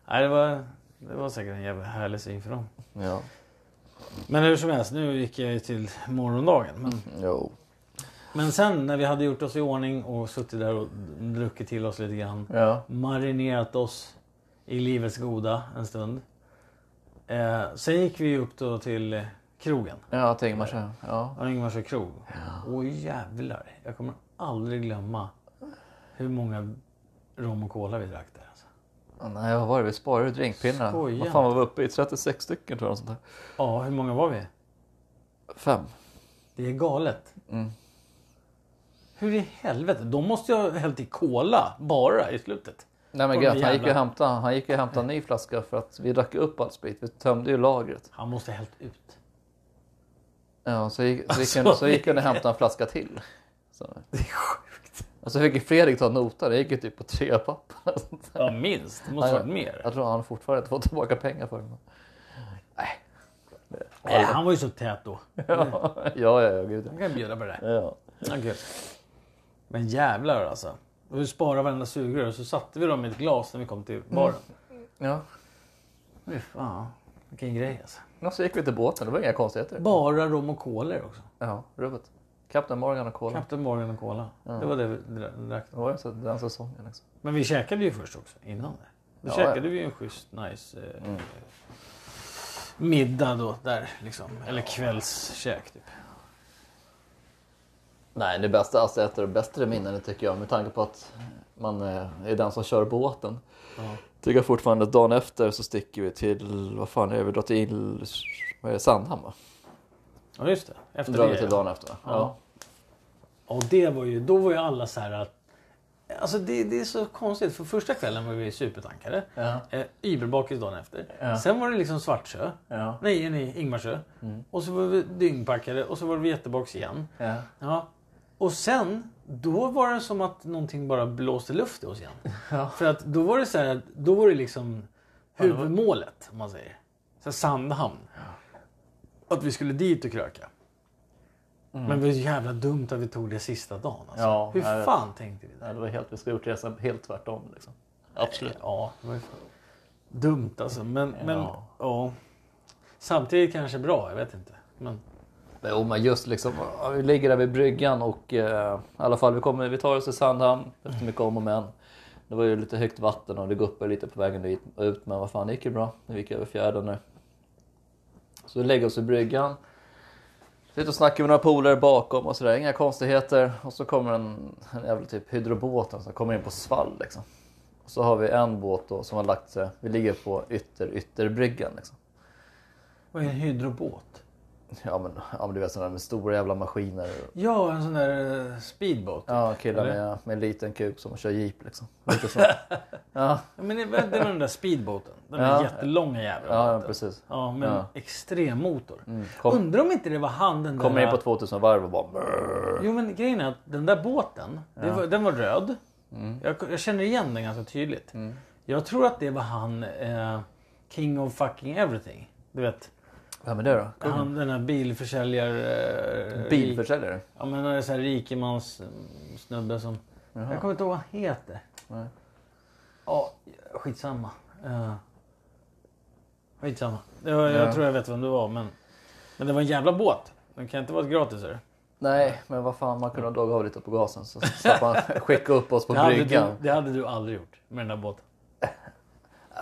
[SPEAKER 2] Nej, det, var, det var säkert en jävla härlig syn för dem.
[SPEAKER 1] Ja,
[SPEAKER 2] Men hur som helst, nu gick jag ju till morgondagen. Men,
[SPEAKER 1] jo.
[SPEAKER 2] men sen när vi hade gjort oss i ordning och suttit där och druckit till oss lite grann.
[SPEAKER 1] Ja.
[SPEAKER 2] marinerat oss i livets goda en stund. Eh, sen gick vi upp då till eh, krogen.
[SPEAKER 1] Ja, tänker man så här. Ja.
[SPEAKER 2] Ja, Ingvarsö krog. Åh jävlar. Jag kommer aldrig glömma hur många rom och cola vi drack där. Alltså.
[SPEAKER 1] Ja, Nej, vad var det? Vi sparade drinkpinnarna.
[SPEAKER 2] Skoja.
[SPEAKER 1] Vad fan var vi uppe i? 36 stycken tror jag. Sånt där.
[SPEAKER 2] Ja, hur många var vi?
[SPEAKER 1] Fem.
[SPEAKER 2] Det är galet. Hur i helvete? De måste ju ha hällt i cola bara i slutet.
[SPEAKER 1] Nej
[SPEAKER 2] Åh,
[SPEAKER 1] men gött,
[SPEAKER 2] jävlar.
[SPEAKER 1] han gick ju och hämtade, han gick ju och hämtade en ny flaska för att vi drack ju upp all sprit. Vi tömde ju lagret.
[SPEAKER 2] Han måste ha hällt ut.
[SPEAKER 1] Ja, så gick, så gick, han,
[SPEAKER 2] Alltså,
[SPEAKER 1] så gick han och hämtade en flaska till. Så,
[SPEAKER 2] Det är sjukt.
[SPEAKER 1] Och så fick ju Fredrik ta notan, det gick ju typ på tre papp. eller sånt där.
[SPEAKER 2] Ja, minst. Det måste
[SPEAKER 1] Ja,
[SPEAKER 2] varit mer.
[SPEAKER 1] Jag tror han fortfarande inte fått tillbaka pengar för den. Nej.
[SPEAKER 2] Nej, han var ju så tät då.
[SPEAKER 1] Ja, ja, ja, gud.
[SPEAKER 2] Han kan bjuda på det där.
[SPEAKER 1] ja. Ja.
[SPEAKER 2] Ja, kul. Men jävlar alltså. Och vi sparade varenda sugrör och så satte vi dem i ett glas när vi kom till baren.
[SPEAKER 1] ja.
[SPEAKER 2] Fy fan. Vilken grej alltså.
[SPEAKER 1] Och så gick vi till båten, det var inga konstigheter.
[SPEAKER 2] Bara rom och kolor också.
[SPEAKER 1] Ja, rubbet. Captain Morgan och Cola.
[SPEAKER 2] Captain Morgan och cola. Det var det vi dra- drack.
[SPEAKER 1] Det var ju så den säsongen. Liksom.
[SPEAKER 2] Men vi käkade ju först också innan det. Då
[SPEAKER 1] Ja,
[SPEAKER 2] käkade
[SPEAKER 1] ja.
[SPEAKER 2] vi ju en schysst nice eh, middag då där liksom. Eller kvällskäk typ.
[SPEAKER 1] Nej, det bästa alltså ett av de bättre minnena tycker jag med tanke på att man eh, är den som kör båten.
[SPEAKER 2] Ja.
[SPEAKER 1] Tycker jag fortfarande att dagen efter så sticker vi till, vad fan är det, vi drar till vad är det, Sandhamn va?
[SPEAKER 2] Ja just det. Efter
[SPEAKER 1] Drar vi
[SPEAKER 2] det
[SPEAKER 1] till dagen efter va? Ja.
[SPEAKER 2] Och det var ju, då var ju alla så här att... Alltså det, det är så konstigt, för första kvällen var vi supertankade.
[SPEAKER 1] Ja.
[SPEAKER 2] Eh, Yberbakis dagen efter.
[SPEAKER 1] Ja.
[SPEAKER 2] Sen var det liksom Svartsjö.
[SPEAKER 1] Ja.
[SPEAKER 2] Nej, nej, Ingmarsö.
[SPEAKER 1] Mm.
[SPEAKER 2] Och så var vi dyngpackade och så var vi jättebaks igen.
[SPEAKER 1] Ja.
[SPEAKER 2] Ja. Och sen, då var det som att någonting bara blåste luft i oss igen.
[SPEAKER 1] Ja.
[SPEAKER 2] För att då var det så här, då var det liksom huvudmålet om man säger. Så här Sandhamn. Att vi skulle dit och kröka. Men det var ju jävla dumt att vi tog det sista dagen. Alltså.
[SPEAKER 1] Mm. Ja,
[SPEAKER 2] Hur
[SPEAKER 1] jag vet.
[SPEAKER 2] fan tänkte vi där?
[SPEAKER 1] Nej, det var helt, vi skulle ha gjort resan helt tvärtom liksom. Absolut.
[SPEAKER 2] Ja, det var ju fan dumt alltså. Men, men
[SPEAKER 1] Ja.
[SPEAKER 2] ja. Samtidigt kanske bra, jag vet inte. Men
[SPEAKER 1] Jo men just liksom, ja, vi ligger där vid bryggan och eh, i alla fall vi, kommer, vi tar oss till Sandhamn efter mycket om och men. Det var ju lite högt vatten och det guppade lite på vägen dit och ut men vad fan det gick ju bra. Vi gick över fjärden nu. Så vi lägger oss vid bryggan. Sitter och snackar med några polare bakom och sådär, inga konstigheter. Och så kommer en, en jävla typ hydrobåten som kommer in på svall liksom. Och så har vi en båt då som har lagt sig, vi ligger på ytter ytterbryggan liksom.
[SPEAKER 2] vad är en hydrobåt?
[SPEAKER 1] Ja men, ja, men du vet sådana med stora jävla maskiner. och-
[SPEAKER 2] Ja, en sån där eh, speedboat.
[SPEAKER 1] Ja, killar
[SPEAKER 2] Eller?
[SPEAKER 1] med, med en liten kuk som kör jeep liksom. Lite så. ja,
[SPEAKER 2] Ja, Men det var det var den där speedboaten. Den
[SPEAKER 1] Ja.
[SPEAKER 2] där jättelånga jäveln.
[SPEAKER 1] ja, ja, precis.
[SPEAKER 2] Ja, men
[SPEAKER 1] Ja.
[SPEAKER 2] extrem motor.
[SPEAKER 1] kom-
[SPEAKER 2] Undrar om inte det var han den
[SPEAKER 1] Kommer
[SPEAKER 2] där...
[SPEAKER 1] in på 2000 varv och bara brrr.
[SPEAKER 2] Jo men grejen är att den där båten, det var, den var röd.
[SPEAKER 1] Mm,
[SPEAKER 2] Jag, jag känner igen den ganska tydligt. Jag tror att det var han eh, King of fucking everything. Du vet,
[SPEAKER 1] Vem är det då? Kungen?
[SPEAKER 2] han, den här bilförsäljare... Eh, rik-
[SPEAKER 1] Bilförsäljare?
[SPEAKER 2] Ja men en sån här rikemans eh, snubbe som... Jag kommer inte ihåg vad han heter.
[SPEAKER 1] Nej.
[SPEAKER 2] Ja, skitsamma. Uh, skitsamma. Jag, jag
[SPEAKER 1] Ja.
[SPEAKER 2] tror jag vet vem det var men... Men det var en jävla båt. Den kan inte vara gratis är det?
[SPEAKER 1] Nej, men vad fan man kunde ha dragit av lite på gasen så slapp han skicka upp oss på
[SPEAKER 2] Det hade, du,
[SPEAKER 1] bryggan.
[SPEAKER 2] det hade du aldrig gjort med den där båten.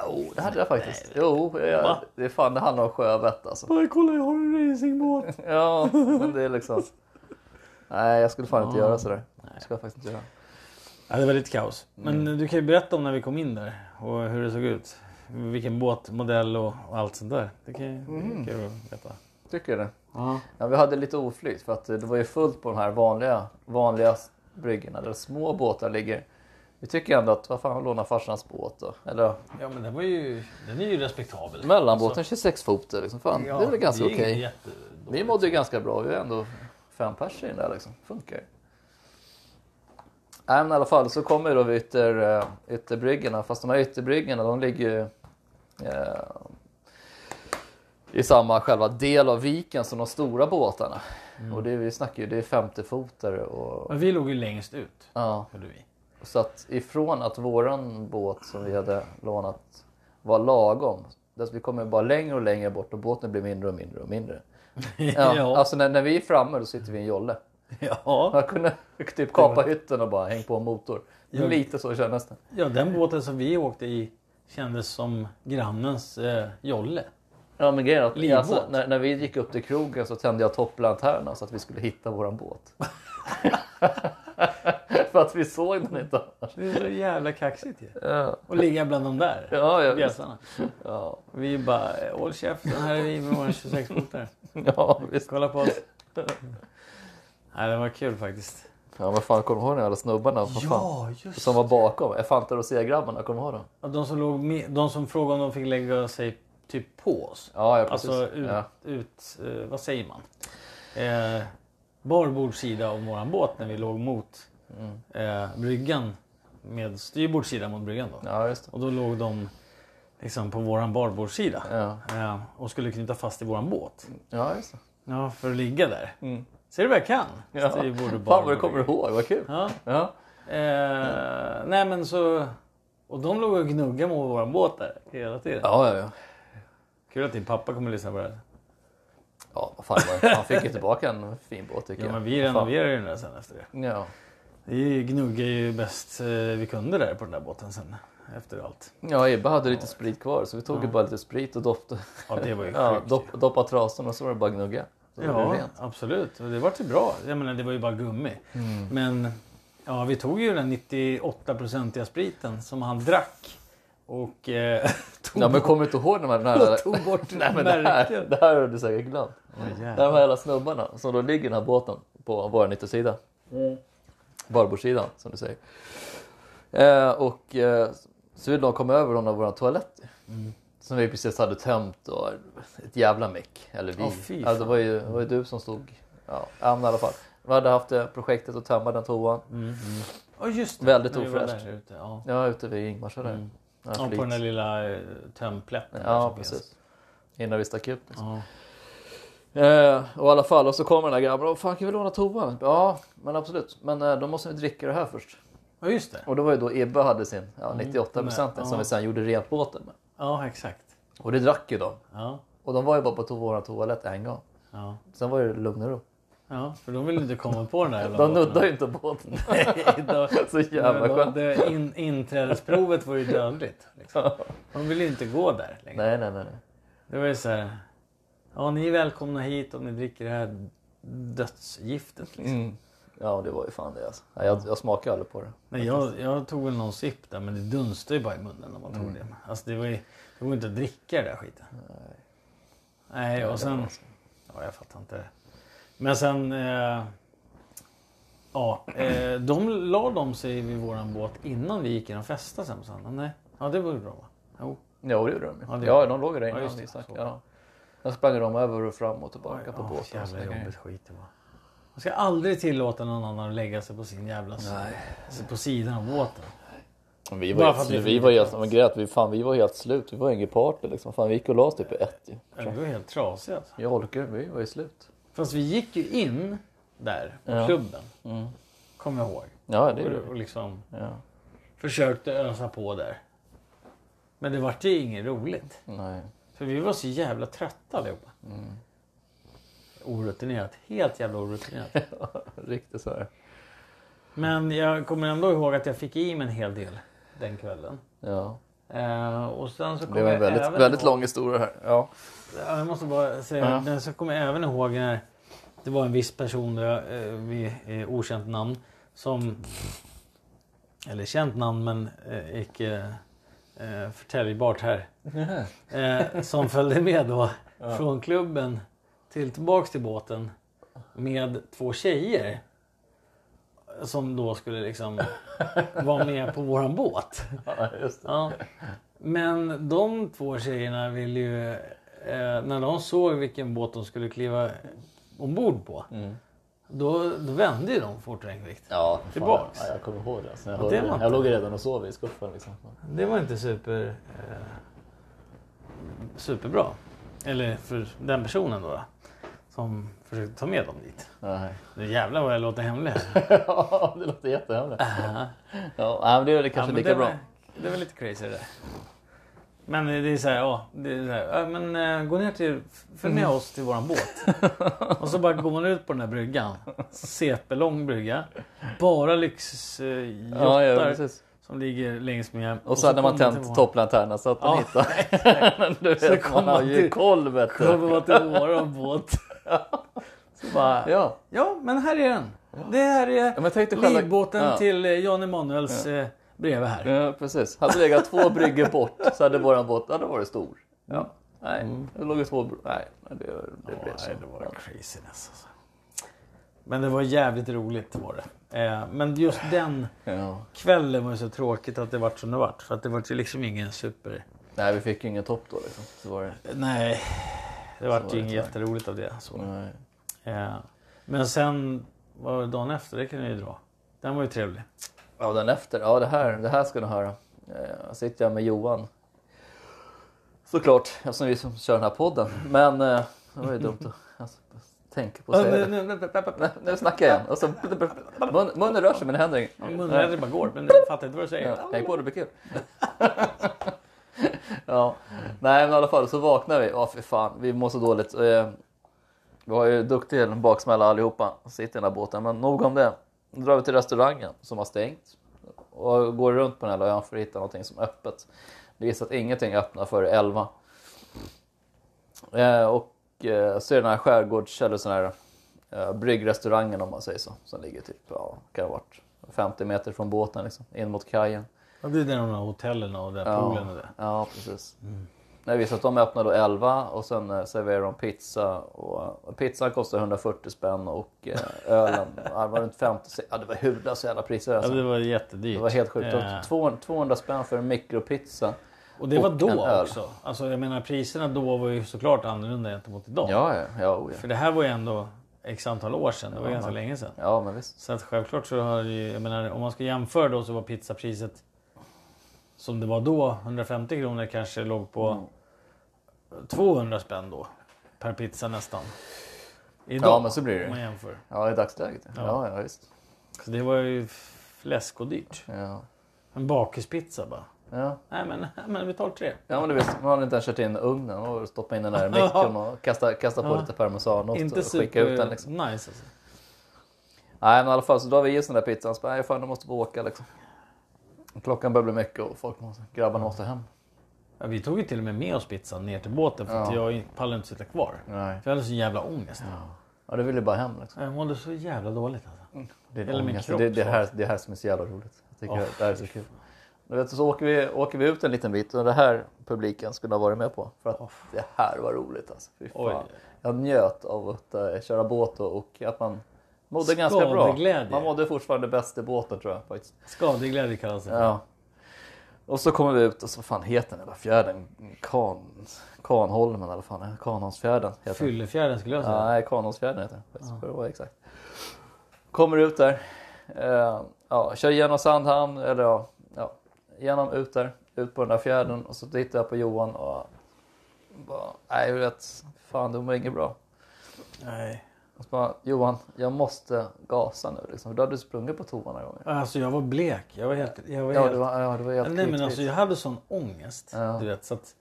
[SPEAKER 1] Jo, det hade jag faktiskt. Jo, jag,
[SPEAKER 2] Va?
[SPEAKER 1] det är fan det handlar om sjövett alltså.
[SPEAKER 2] Bara kolla jag har en racingbåt.
[SPEAKER 1] Ja, men det är liksom. Nej, jag skulle fan inte göra sådär. Det ska jag faktiskt inte göra.
[SPEAKER 2] Ja, det var lite kaos. Men du kan ju berätta om när vi kom in där och hur det såg ut. Vilken båtmodell och, och allt sånt där. Det kan ju mm. kul att veta.
[SPEAKER 1] Tycker du det?
[SPEAKER 2] Ja.
[SPEAKER 1] Ja, vi hade lite oflyt för att eh, det var ju fullt på de här vanliga, vanliga bryggorna där små båtar ligger. Vi tycker ändå att, vad fan, låna farsans båt då? Eller
[SPEAKER 2] men den var ju, den är ju respektabel.
[SPEAKER 1] mellanbåten 26 fot liksom. Fan,
[SPEAKER 2] Alltså. Ja,
[SPEAKER 1] det är väl ganska
[SPEAKER 2] det är
[SPEAKER 1] okej.
[SPEAKER 2] inget jättedåligt.
[SPEAKER 1] Vi mådde ju ganska bra, vi var ändå fem pers i den där liksom. Funkar ju. Nej men i alla fall så kommer ju då vi ytter, eh, ytterbryggorna, fast de här ytterbryggorna de ligger ju eh, i samma själva del av viken som de stora båtarna. Och det är- vi snackar ju, det är 50 fotare och
[SPEAKER 2] Men vi låg ju längst ut.
[SPEAKER 1] ja.
[SPEAKER 2] Hörde vi.
[SPEAKER 1] Så att ifrån att våran båt som vi hade lånat var lagom, dess vi kommer bara längre och längre bort och båten blir mindre och mindre och mindre. Ja,
[SPEAKER 2] ja.
[SPEAKER 1] Alltså när, när vi är framme då sitter vi i en jolle.
[SPEAKER 2] ja.
[SPEAKER 1] Man kunde typ kapa hytten och bara häng på en motor. Lite så kändes det.
[SPEAKER 2] ja, den båten som vi åkte i kändes som grannens eh, jolle.
[SPEAKER 1] Ja men grejen är att
[SPEAKER 2] Livbåt.
[SPEAKER 1] alltså, när, när vi gick upp till krogen så tände jag topplanterna så att vi skulle hitta våran båt. För att vi såg den inte annars.
[SPEAKER 2] Det är så jävla kaxigt ju.
[SPEAKER 1] Ja,
[SPEAKER 2] Och ligga bland de där
[SPEAKER 1] ja, ja, visst.
[SPEAKER 2] bjässarna.
[SPEAKER 1] ja,
[SPEAKER 2] Vi bara, eh, håll käften, här är vi med våra 26 fotare.
[SPEAKER 1] ja visst.
[SPEAKER 2] Kolla på oss. Nej, det var kul faktiskt.
[SPEAKER 1] Ja men fan kommer du ihåg de jävla snubbarna? Vad fan,
[SPEAKER 2] just
[SPEAKER 1] som var bakom? Elefanter och segrabbarna, kommer du ihåg dem?
[SPEAKER 2] De som, låg med, de som frågade om de fick lägga sig typ på oss.
[SPEAKER 1] Ja, ja precis.
[SPEAKER 2] Alltså ut,
[SPEAKER 1] ja.
[SPEAKER 2] ut eh, vad säger man? Eh, bar bordsida av våran båt när vi låg mot
[SPEAKER 1] Mm.
[SPEAKER 2] eh, bryggan med styrbord sida mot bryggan. Då.
[SPEAKER 1] Ja, just det.
[SPEAKER 2] Och då låg de liksom på våran barbordssida
[SPEAKER 1] Ja,
[SPEAKER 2] eh, och skulle knyta fast i våran båt.
[SPEAKER 1] ja just det.
[SPEAKER 2] Ja, för att ligga där.
[SPEAKER 1] Mm.
[SPEAKER 2] Ser du vad jag kan?
[SPEAKER 1] Ja.
[SPEAKER 2] Styrbord och
[SPEAKER 1] Fan
[SPEAKER 2] barbord.
[SPEAKER 1] vad du kommer ihåg, vad kul.
[SPEAKER 2] Ja.
[SPEAKER 1] Ja.
[SPEAKER 2] Eh, nej men så... Och de låg och gnuggade mot våran båt där hela tiden.
[SPEAKER 1] Ja, ja, ja.
[SPEAKER 2] Kul att din pappa kommer att lyssna på det här.
[SPEAKER 1] Ja, vad fan, man, man fick ju tillbaka en fin båt tycker
[SPEAKER 2] Ja,
[SPEAKER 1] jag.
[SPEAKER 2] men vi
[SPEAKER 1] Vad fan.
[SPEAKER 2] renoverade ju den där sen efter det.
[SPEAKER 1] Ja.
[SPEAKER 2] Vi gnuggade ju bäst eh, vi kunde där på den där båten sen. Efter allt.
[SPEAKER 1] ja, Ebba hade lite sprit kvar så vi tog ju bara lite sprit och doppade
[SPEAKER 2] Ja, det var ju
[SPEAKER 1] ja,
[SPEAKER 2] sjukt.
[SPEAKER 1] dopp, doppa trasorna och så var det bara att gnugga. Så var det
[SPEAKER 2] ja
[SPEAKER 1] rent.
[SPEAKER 2] absolut. Och det var ju bra. Jag menar, det var ju bara gummi. Men ja, vi tog ju den 98-procentiga spriten som han drack. Och eh, tog
[SPEAKER 1] Ja, men kommer du inte ihåg de här... Den här
[SPEAKER 2] Jag tog bort
[SPEAKER 1] Nej, men det, här,
[SPEAKER 2] märken.
[SPEAKER 1] det här har du säkert glömt.
[SPEAKER 2] Åh, jävlar.
[SPEAKER 1] De här jävla snubbarna som då ligger i den här båten på vår yttersida.
[SPEAKER 2] Mm,
[SPEAKER 1] Barbordssidan som du säger. Eh, och eh, så vill de komma över någon av våra toaletter.
[SPEAKER 2] Mm.
[SPEAKER 1] Som vi precis hade tömt och ett jävla meck. Eller vi.
[SPEAKER 2] Åh, fy
[SPEAKER 1] ja, det var ju det var ju du som stod. Ja, ja men i alla fall. Vi hade haft det projektet att tömma den toan.
[SPEAKER 2] mm, Ja, just det.
[SPEAKER 1] Väldigt
[SPEAKER 2] När vi var
[SPEAKER 1] ofräscht.
[SPEAKER 2] där ute, Ja.
[SPEAKER 1] Ja, ute vid Ingmarsö där. Ja,
[SPEAKER 2] Mm. Ja,
[SPEAKER 1] flit.
[SPEAKER 2] på den där lilla eh, tömplätten. där
[SPEAKER 1] ja
[SPEAKER 2] som finns.
[SPEAKER 1] precis. Innan vi stack ut. Liksom.
[SPEAKER 2] Ja.
[SPEAKER 1] Eh, och i alla fall, och så kommer den där grabben och fan kan vi låna toan? Ja, men absolut. Men eh, då måste vi dricka det här först.
[SPEAKER 2] ja, just det.
[SPEAKER 1] Och det var ju då Ebbe hade sin ja, 98 procent
[SPEAKER 2] Mm. Nej,
[SPEAKER 1] som
[SPEAKER 2] ja.
[SPEAKER 1] vi sen gjorde rent båten med.
[SPEAKER 2] Ja, exakt.
[SPEAKER 1] Och det drack ju de.
[SPEAKER 2] Ja,
[SPEAKER 1] Och de var ju bara på to- vår toalett en gång.
[SPEAKER 2] ja.
[SPEAKER 1] Sen var det lugn och ro.
[SPEAKER 2] Ja, för de vill inte komma på den där jävla
[SPEAKER 1] De
[SPEAKER 2] båten.
[SPEAKER 1] nuddade ju inte båten.
[SPEAKER 2] Nej, då-
[SPEAKER 1] Så jävla
[SPEAKER 2] då-
[SPEAKER 1] skönt.
[SPEAKER 2] det in, inträdesprovet var ju dödligt. Liksom. De ville ju inte gå där längre.
[SPEAKER 1] Nej, nej, nej. nej.
[SPEAKER 2] Det var ju så här. Ja, ni är välkomna hit om ni dricker det här dödsgiftet.
[SPEAKER 1] Mm.
[SPEAKER 2] Liksom.
[SPEAKER 1] Ja, det var ju fan det alltså. Nej, jag, jag smakade aldrig på det.
[SPEAKER 2] Nej, jag, jag tog väl någon sipp där men det dunstade ju bara i munnen när man tog
[SPEAKER 1] Mm.
[SPEAKER 2] det. Alltså det var ju, det går inte att dricka det där skiten. Nej, och sen... Ja, jag fattar inte det. Men sen... Eh, ja, eh, de la de sig vid våran båt innan vi gick in och festade sen på söndagen. Nej, ja det var ju bra va? Jo.
[SPEAKER 1] Jo, det gjorde de ju.
[SPEAKER 2] Ja,
[SPEAKER 1] Ja,
[SPEAKER 2] det-
[SPEAKER 1] de låg ju där innan.
[SPEAKER 2] just det.
[SPEAKER 1] vi stack.
[SPEAKER 2] Så.
[SPEAKER 1] Ja. Sen sprang de över och fram och tillbaka på
[SPEAKER 2] Ja,
[SPEAKER 1] båten. Alltså. och
[SPEAKER 2] jävla
[SPEAKER 1] sådana grejer.
[SPEAKER 2] jobbigt skit det var. Man ska aldrig tillåta någon annan att lägga sig på sin jävla sida. Alltså på sidan av båten.
[SPEAKER 1] Vi
[SPEAKER 2] Bara
[SPEAKER 1] var,
[SPEAKER 2] för att
[SPEAKER 1] helt,
[SPEAKER 2] vi fick
[SPEAKER 1] vi var
[SPEAKER 2] inte
[SPEAKER 1] helt, men grejen är att vi, fan, vi var helt slut. Vi var ingen party liksom. Fan, vi gick och la oss typ i ett ju.
[SPEAKER 2] Ja, Vi var helt trasiga alltså.
[SPEAKER 1] Jag orkar vi var ju slut.
[SPEAKER 2] Fast vi gick ju in där på
[SPEAKER 1] Ja.
[SPEAKER 2] klubben. Kommer jag ihåg.
[SPEAKER 1] Ja, det gjorde
[SPEAKER 2] Och, och liksom
[SPEAKER 1] Ja.
[SPEAKER 2] försökte ösa på där. Men det vart ju inget roligt.
[SPEAKER 1] Nej. Mm.
[SPEAKER 2] För vi var så jävla trötta allihopa. Orutinerat. Helt jävla orutinerat.
[SPEAKER 1] Riktigt så här.
[SPEAKER 2] Men jag kommer ändå ihåg att jag fick i mig en hel del den kvällen.
[SPEAKER 1] Ja.
[SPEAKER 2] Eh, och sen så
[SPEAKER 1] Det
[SPEAKER 2] kommer
[SPEAKER 1] blev en
[SPEAKER 2] jag
[SPEAKER 1] väldigt,
[SPEAKER 2] även
[SPEAKER 1] väldigt
[SPEAKER 2] ihåg-
[SPEAKER 1] lång historia här. Ja.
[SPEAKER 2] Ja, Jag måste bara säga,
[SPEAKER 1] Ja.
[SPEAKER 2] men så kommer jag även ihåg när det var en viss person, där, eh, vid eh, okänt namn, som... Eller känt namn men eh, icke eh, förtäljbart här. Eh, som följde med då från klubben till tillbaks till båten med två tjejer. Som då skulle liksom vara med på våran båt.
[SPEAKER 1] ja, just det.
[SPEAKER 2] Ja. Men de två tjejerna ville ju... Eh, när de såg vilken båt de skulle kliva ombord på.
[SPEAKER 1] Mm.
[SPEAKER 2] Då, då vände ju de fort och enkelt.
[SPEAKER 1] Ja, fan,
[SPEAKER 2] Tillbaks.
[SPEAKER 1] Ja, jag kommer ihåg det. Alltså, när jag, hörde
[SPEAKER 2] Ja, det var
[SPEAKER 1] det
[SPEAKER 2] inte-
[SPEAKER 1] jag låg redan och sov i skuffen. Liksom.
[SPEAKER 2] Det var inte super... Eh, superbra. Eller för den personen då. Som försökte ta med dem dit.
[SPEAKER 1] Nej.
[SPEAKER 2] Nu jävlar vad jag låter hemlig här.
[SPEAKER 1] Ja, det låter jättehemligt. Ja, nej, men det är det kanske
[SPEAKER 2] men
[SPEAKER 1] lika
[SPEAKER 2] det
[SPEAKER 1] bra.
[SPEAKER 2] Var, det var lite crazy det där. Men det är så här, ja. Det är så här, ja, men eh, gå ner till, följ
[SPEAKER 1] Mm.
[SPEAKER 2] med oss till våran båt. Och så bara går man ut på den här bryggan. CP-lång brygga. Bara lyxjottar
[SPEAKER 1] Ja, ja, precis.
[SPEAKER 2] som ligger längs med.
[SPEAKER 1] Och så hade man
[SPEAKER 2] kommer
[SPEAKER 1] tänt
[SPEAKER 2] till
[SPEAKER 1] topplanterna så att man
[SPEAKER 2] Ja,
[SPEAKER 1] hittade. du
[SPEAKER 2] Så
[SPEAKER 1] vet,
[SPEAKER 2] kom
[SPEAKER 1] man har
[SPEAKER 2] man
[SPEAKER 1] ju
[SPEAKER 2] till-
[SPEAKER 1] koll vet
[SPEAKER 2] våran-
[SPEAKER 1] du.
[SPEAKER 2] Kommer man till våran båt. Så bara, ja.
[SPEAKER 1] Ja.
[SPEAKER 2] men här är den. Det här är
[SPEAKER 1] Ja, men tänk dig själva-
[SPEAKER 2] livbåten
[SPEAKER 1] Ja.
[SPEAKER 2] till eh, Jan Emanuels eh, bredvid här.
[SPEAKER 1] Ja, precis. Hade legat två bryggor bort så hade våran båt hade varit stor.
[SPEAKER 2] Mm.
[SPEAKER 1] Ja. Nej, det låg ju två... br- Nej, nej, det, det blev så.
[SPEAKER 2] Nej, det var craziness alltså. Men det var jävligt roligt var det. Eh, men just den
[SPEAKER 1] Ja.
[SPEAKER 2] kvällen var ju så tråkigt att det vart som det vart. För att det vart ju liksom ingen super...
[SPEAKER 1] Nej, vi fick ju ingen topp då liksom. Så var det.
[SPEAKER 2] Nej, det
[SPEAKER 1] Så
[SPEAKER 2] vart
[SPEAKER 1] var
[SPEAKER 2] ju
[SPEAKER 1] det
[SPEAKER 2] inget
[SPEAKER 1] tyvärr.
[SPEAKER 2] jätteroligt av det. alltså. Så.
[SPEAKER 1] Nej.
[SPEAKER 2] Eh, men sen, vad var det dagen efter? Det kan jag ju dra. Den var ju trevlig.
[SPEAKER 1] Ja, den efter. Ja, det här, det här ska du höra. Eh, sitter jag med Johan. Såklart, eftersom vi som kör den här podden. Men eh, det var ju dumt att alltså, tänka på att
[SPEAKER 2] Ja,
[SPEAKER 1] säga
[SPEAKER 2] nu-
[SPEAKER 1] det.
[SPEAKER 2] nu- nu-
[SPEAKER 1] Nej, nu snackar jag igen. Och så, mun, munnen rör sig men det händer inget.
[SPEAKER 2] Ja, Munvädret bara går, men jag fattar inte vad du säger.
[SPEAKER 1] Ja, tänk på det blir kul. ja. Nej men i alla fall så vaknar vi. Ja fy fan, vi mår så dåligt. Eh, Vi har ju duktig en baksmälla allihopa. Sitter i den här båten. Men nog om det. Nu drar vi till restaurangen som har stängt. Och går runt på den här ön för att hitta någonting som är öppet. Det visar att ingenting öppnar före 11. Eh, Och eh, så är det den här skärgårds eller sån här eh, bryggrestaurangen om man säger så. Som ligger typ, ja, kan det ha varit 50 meter från båten liksom, in mot kajen.
[SPEAKER 2] Ja, det är där de här hotellen och den där poolen och det.
[SPEAKER 1] Ja, precis. Nej, visst att de öppnar då 11 och sen eh, serverar de pizza. Och, och pizzan kostar 140 spänn och eh, ölen ja, det var runt 50. Ja, det var hudlösa jävla priser
[SPEAKER 2] Ja,
[SPEAKER 1] alltså.
[SPEAKER 2] det var jättedyrt.
[SPEAKER 1] Det var helt sjukt.
[SPEAKER 2] Eh,
[SPEAKER 1] 200, 200 spänn för en mikropizza.
[SPEAKER 2] Och det var
[SPEAKER 1] och en
[SPEAKER 2] då
[SPEAKER 1] öl.
[SPEAKER 2] också. Alltså, jag menar priserna då var ju såklart annorlunda gentemot idag.
[SPEAKER 1] Ja, ja, ja, oh, ja.
[SPEAKER 2] För det här var ju ändå x antal år sedan. Det var
[SPEAKER 1] Ja.
[SPEAKER 2] ganska länge sedan.
[SPEAKER 1] ja men visst.
[SPEAKER 2] Så att självklart så har det ju, jag menar, om man ska jämföra då så var pizzapriset som det var då, 150 kronor kanske låg på
[SPEAKER 1] Mm.
[SPEAKER 2] 200 spänn då. Per pizza nästan. Idag,
[SPEAKER 1] Ja, men så blir det.
[SPEAKER 2] Om man jämför.
[SPEAKER 1] Ja, i dagsläget. Ja, ja, ja visst.
[SPEAKER 2] Så det var ju fläskodyrt.
[SPEAKER 1] Ja.
[SPEAKER 2] En bakispizza bara.
[SPEAKER 1] Ja.
[SPEAKER 2] Nej men, nej, men vi tar tre.
[SPEAKER 1] Ja men du vet, man hade inte ens kört in ugnen och stoppat in den där i mikron och kastat kasta på
[SPEAKER 2] Ja.
[SPEAKER 1] lite parmesanost
[SPEAKER 2] Inte
[SPEAKER 1] och
[SPEAKER 2] super
[SPEAKER 1] skicka ut den liksom.
[SPEAKER 2] nice alltså.
[SPEAKER 1] Nej men i alla fall så drar vi i oss den där pizzan. Så bara, nej fan jag måste bara åka liksom. Klockan börjar bli mycket och folk måste, grabbarna måste hem.
[SPEAKER 2] Ja, vi tog ju till och med med oss pizzan ner till båten för att jag pallade inte sitta kvar.
[SPEAKER 1] Nej.
[SPEAKER 2] För jag hade så jävla ångest.
[SPEAKER 1] Ja du vill ju bara hem liksom.
[SPEAKER 2] Jag mådde så jävla dåligt alltså.
[SPEAKER 1] Det är, en
[SPEAKER 2] Eller min
[SPEAKER 1] ångest.
[SPEAKER 2] kropp,
[SPEAKER 1] det, det,
[SPEAKER 2] så.
[SPEAKER 1] här, det här som är så jävla roligt. Jag tycker det här är så kul. Du vet, så åker vi, åker vi ut en liten bit och det här publiken skulle ha varit med på. För att det här var roligt alltså. Fy fan.
[SPEAKER 2] Oj.
[SPEAKER 1] Jag njöt av att eh, köra båt och, och att man mådde ganska bra.
[SPEAKER 2] Skadeglädje.
[SPEAKER 1] Man mådde fortfarande bäst i båten tror jag faktiskt.
[SPEAKER 2] Skadeglädje kallas det.
[SPEAKER 1] Ja. Och så kommer vi ut och så vad fan heter den jävla fjärden? Kan, Kanholmen eller vad fan är det? Kanholmsfjärden heter den.
[SPEAKER 2] Fyllefjärden skulle jag säga.
[SPEAKER 1] Ja, nej, Kanholmsfjärden heter den. faktiskt, för att vara exakt. Kommer ut där. Eh, ja, kör genom Sandhamn, eller ja, ja, genom ut där, ut på den där fjärden och så tittar jag på Johan och bara, nej du vet, fan det mår inget bra.
[SPEAKER 2] Nej.
[SPEAKER 1] Och så bara, Johan, jag måste gasa nu liksom. för Då hade du sprungit på toa några gånger.
[SPEAKER 2] Alltså jag var blek. Jag var helt... Jag var
[SPEAKER 1] Ja,
[SPEAKER 2] helt...
[SPEAKER 1] det var, ja, det var helt
[SPEAKER 2] Nej men
[SPEAKER 1] skitigt.
[SPEAKER 2] alltså jag hade sån ångest.
[SPEAKER 1] Ja.
[SPEAKER 2] Du vet så att...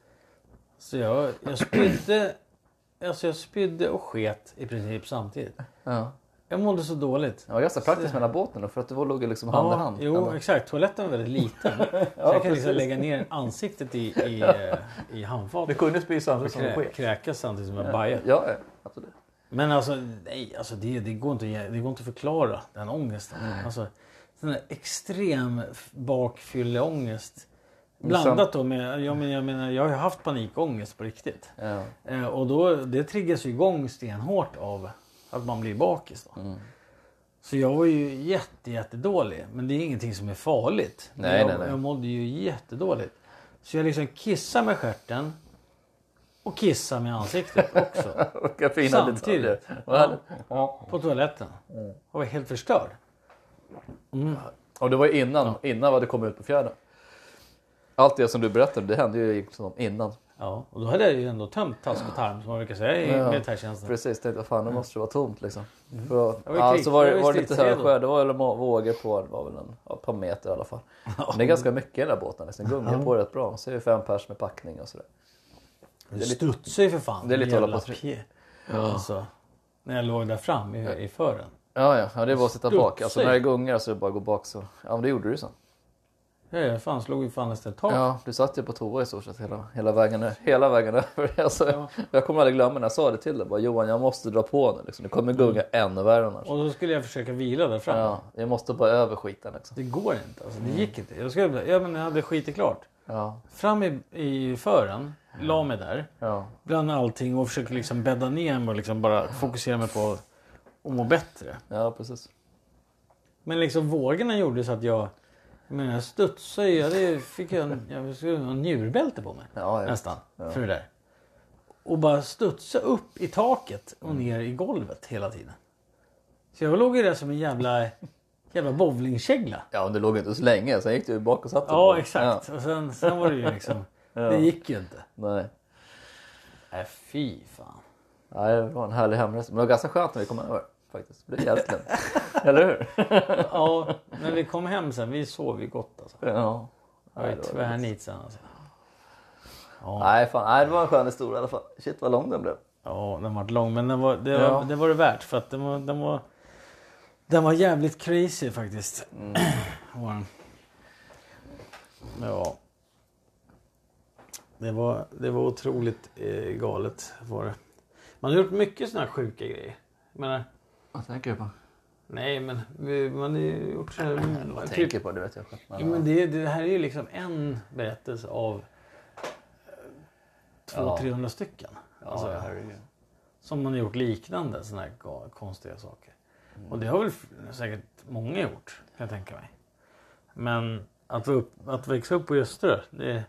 [SPEAKER 2] Så jag, jag spydde... Alltså jag spydde och sket i princip samtidigt.
[SPEAKER 1] ja.
[SPEAKER 2] Jag mådde så dåligt.
[SPEAKER 1] Det var ganska praktiskt med den här båten då, för att det var- låg ju liksom hand i hand.
[SPEAKER 2] jo
[SPEAKER 1] Ändå.
[SPEAKER 2] exakt. Toaletten var väldigt liten. så jag kan liksom lägga ner ansiktet i, i, eh, i
[SPEAKER 1] Vi
[SPEAKER 2] handfatet.
[SPEAKER 1] kunde spy samtidigt som det
[SPEAKER 2] Krä,
[SPEAKER 1] sker.
[SPEAKER 2] kräkas samtidigt som jag bajar.
[SPEAKER 1] Ja, ja, absolut.
[SPEAKER 2] Men alltså, nej, alltså det, det, går inte, att ge- det går inte att förklara den ångesten. Alltså, den där extrem f- bakfylleångest. Blandat då med, jag menar, jag, menar, jag har ju haft panikångest på riktigt.
[SPEAKER 1] Ja.
[SPEAKER 2] Eh, och då, det triggas ju igång stenhårt av att man blir bakis. Då.
[SPEAKER 1] Mm.
[SPEAKER 2] Så jag var ju jätte, jättedålig. Men det är ingenting som är farligt. Men
[SPEAKER 1] Nej,
[SPEAKER 2] jag,
[SPEAKER 1] nej, nej.
[SPEAKER 2] jag mådde ju jättedåligt. Så jag liksom kissade med stjärten och kissade med ansiktet också.
[SPEAKER 1] Vilka fina
[SPEAKER 2] Samtidigt.
[SPEAKER 1] detaljer. Vad
[SPEAKER 2] Ja.
[SPEAKER 1] härligt. Ja. Mm.
[SPEAKER 2] På toaletten. Och var helt förstörd.
[SPEAKER 1] Och det var ju innan, innan vi hade kommit ut på fjärden. Allt det som du berättade, det hände ju liksom innan.
[SPEAKER 2] Ja, och då hade jag ju ändå tömt task och tarm som man brukar säga i
[SPEAKER 1] Ja.
[SPEAKER 2] militärtjänsten.
[SPEAKER 1] Precis, tänkte jag fan det måste ju vara tomt liksom. För, att-
[SPEAKER 2] var ju
[SPEAKER 1] ja,
[SPEAKER 2] krig-
[SPEAKER 1] så var det,
[SPEAKER 2] Mm. det var ju
[SPEAKER 1] var det lite
[SPEAKER 2] stridsredo.
[SPEAKER 1] högsjö, det var väl må- vågor på, det var väl en, ja, ett par meter i alla fall. Men det är ganska mycket i den där båten, liksom. gungar på rätt bra. Så är det fem pers med packning och sådär.
[SPEAKER 2] Det studsar ju för fan.
[SPEAKER 1] det är lite att hålla
[SPEAKER 2] Jävla
[SPEAKER 1] på och
[SPEAKER 2] pjä- Alltså, när jag låg där fram i, i fören.
[SPEAKER 1] Ja, ja, ja det var att sitta bak. Alltså
[SPEAKER 2] Studsig.
[SPEAKER 1] när det gungar så är det bara att gå bak så. Ja, men det gjorde du ju sen.
[SPEAKER 2] Ja, Jag fan slog ju fan nästan ett tak.
[SPEAKER 1] Ja, du satt ju på toa i stort sett hela, hela vägen ö- hela vägen över. Alltså, Jag kommer aldrig glömma när jag sa det till dig. Bara, Johan, jag måste dra på nu. Liksom. Det kommer
[SPEAKER 2] Mm.
[SPEAKER 1] gunga ännu värre annars.
[SPEAKER 2] Och då skulle jag försöka vila där fram.
[SPEAKER 1] Ja, jag måste bara över skiten. Liksom.
[SPEAKER 2] Det går inte. Alltså, det gick inte. Jag, skulle, ja, men jag hade skitit klart.
[SPEAKER 1] Ja,
[SPEAKER 2] Fram i, i fören, la mig där.
[SPEAKER 1] ja,
[SPEAKER 2] Bland allting och försökte liksom bädda ner mig och liksom bara fokusera mig på att må bättre.
[SPEAKER 1] ja, precis.
[SPEAKER 2] Men liksom vågorna gjorde så att jag... Jag menar jag studsade ju. Jag hade- fick ju en, jag skulle ha en njurbälte på mig.
[SPEAKER 1] Ja, ja.
[SPEAKER 2] Nästan. För det där. Och bara studsa upp i
[SPEAKER 1] Mm.
[SPEAKER 2] taket och ner i golvet hela tiden. Så jag låg ju där som en jävla Jävla bowlingkägla.
[SPEAKER 1] Ja, men det låg inte så länge. Sen gick du ju bak och satte
[SPEAKER 2] Ja,
[SPEAKER 1] på.
[SPEAKER 2] exakt. Och sen, sen var det ju liksom...
[SPEAKER 1] Ja.
[SPEAKER 2] Det gick ju inte.
[SPEAKER 1] Nej.
[SPEAKER 2] Nej, fy fan.
[SPEAKER 1] Nej, det var en härlig hemresa. Men det var ganska skönt när vi kom över faktiskt. Det blev jävligt lugnt. Eller hur?
[SPEAKER 2] Ja, men vi kom hem sen. Vi sov ju gott alltså.
[SPEAKER 1] Ja.
[SPEAKER 2] Jag
[SPEAKER 1] Nej, det
[SPEAKER 2] är
[SPEAKER 1] var
[SPEAKER 2] tvärnit sen alltså. Ja,
[SPEAKER 1] Nej, fan. Nej, det var en skön historia i alla fall. Shit vad lång den blev.
[SPEAKER 2] ja den var lång. Men den var, det, var,
[SPEAKER 1] Ja.
[SPEAKER 2] det var det värt. För att den var... Den var, den var jävligt crazy faktiskt.
[SPEAKER 1] Mm.
[SPEAKER 2] Var den. Ja. Det var, det var otroligt eh, galet. Var det. Man har gjort mycket sådana här sjuka grejer. Jag menar,
[SPEAKER 1] Vad tänker du på?
[SPEAKER 2] nej men vi, man har ju gjort så här...
[SPEAKER 1] Vad
[SPEAKER 2] typ-
[SPEAKER 1] tänker på? Det vet jag själv.
[SPEAKER 2] Jo, men det, det här är ju liksom en berättelse av
[SPEAKER 1] Ja.
[SPEAKER 2] 200-300 stycken. Alltså,
[SPEAKER 1] ja, herregud.
[SPEAKER 2] som man har gjort liknande sådana här ga- konstiga saker. Och det har väl f- säkert många gjort kan jag tänka mig. Men att, vara upp, att växa upp på Österö det...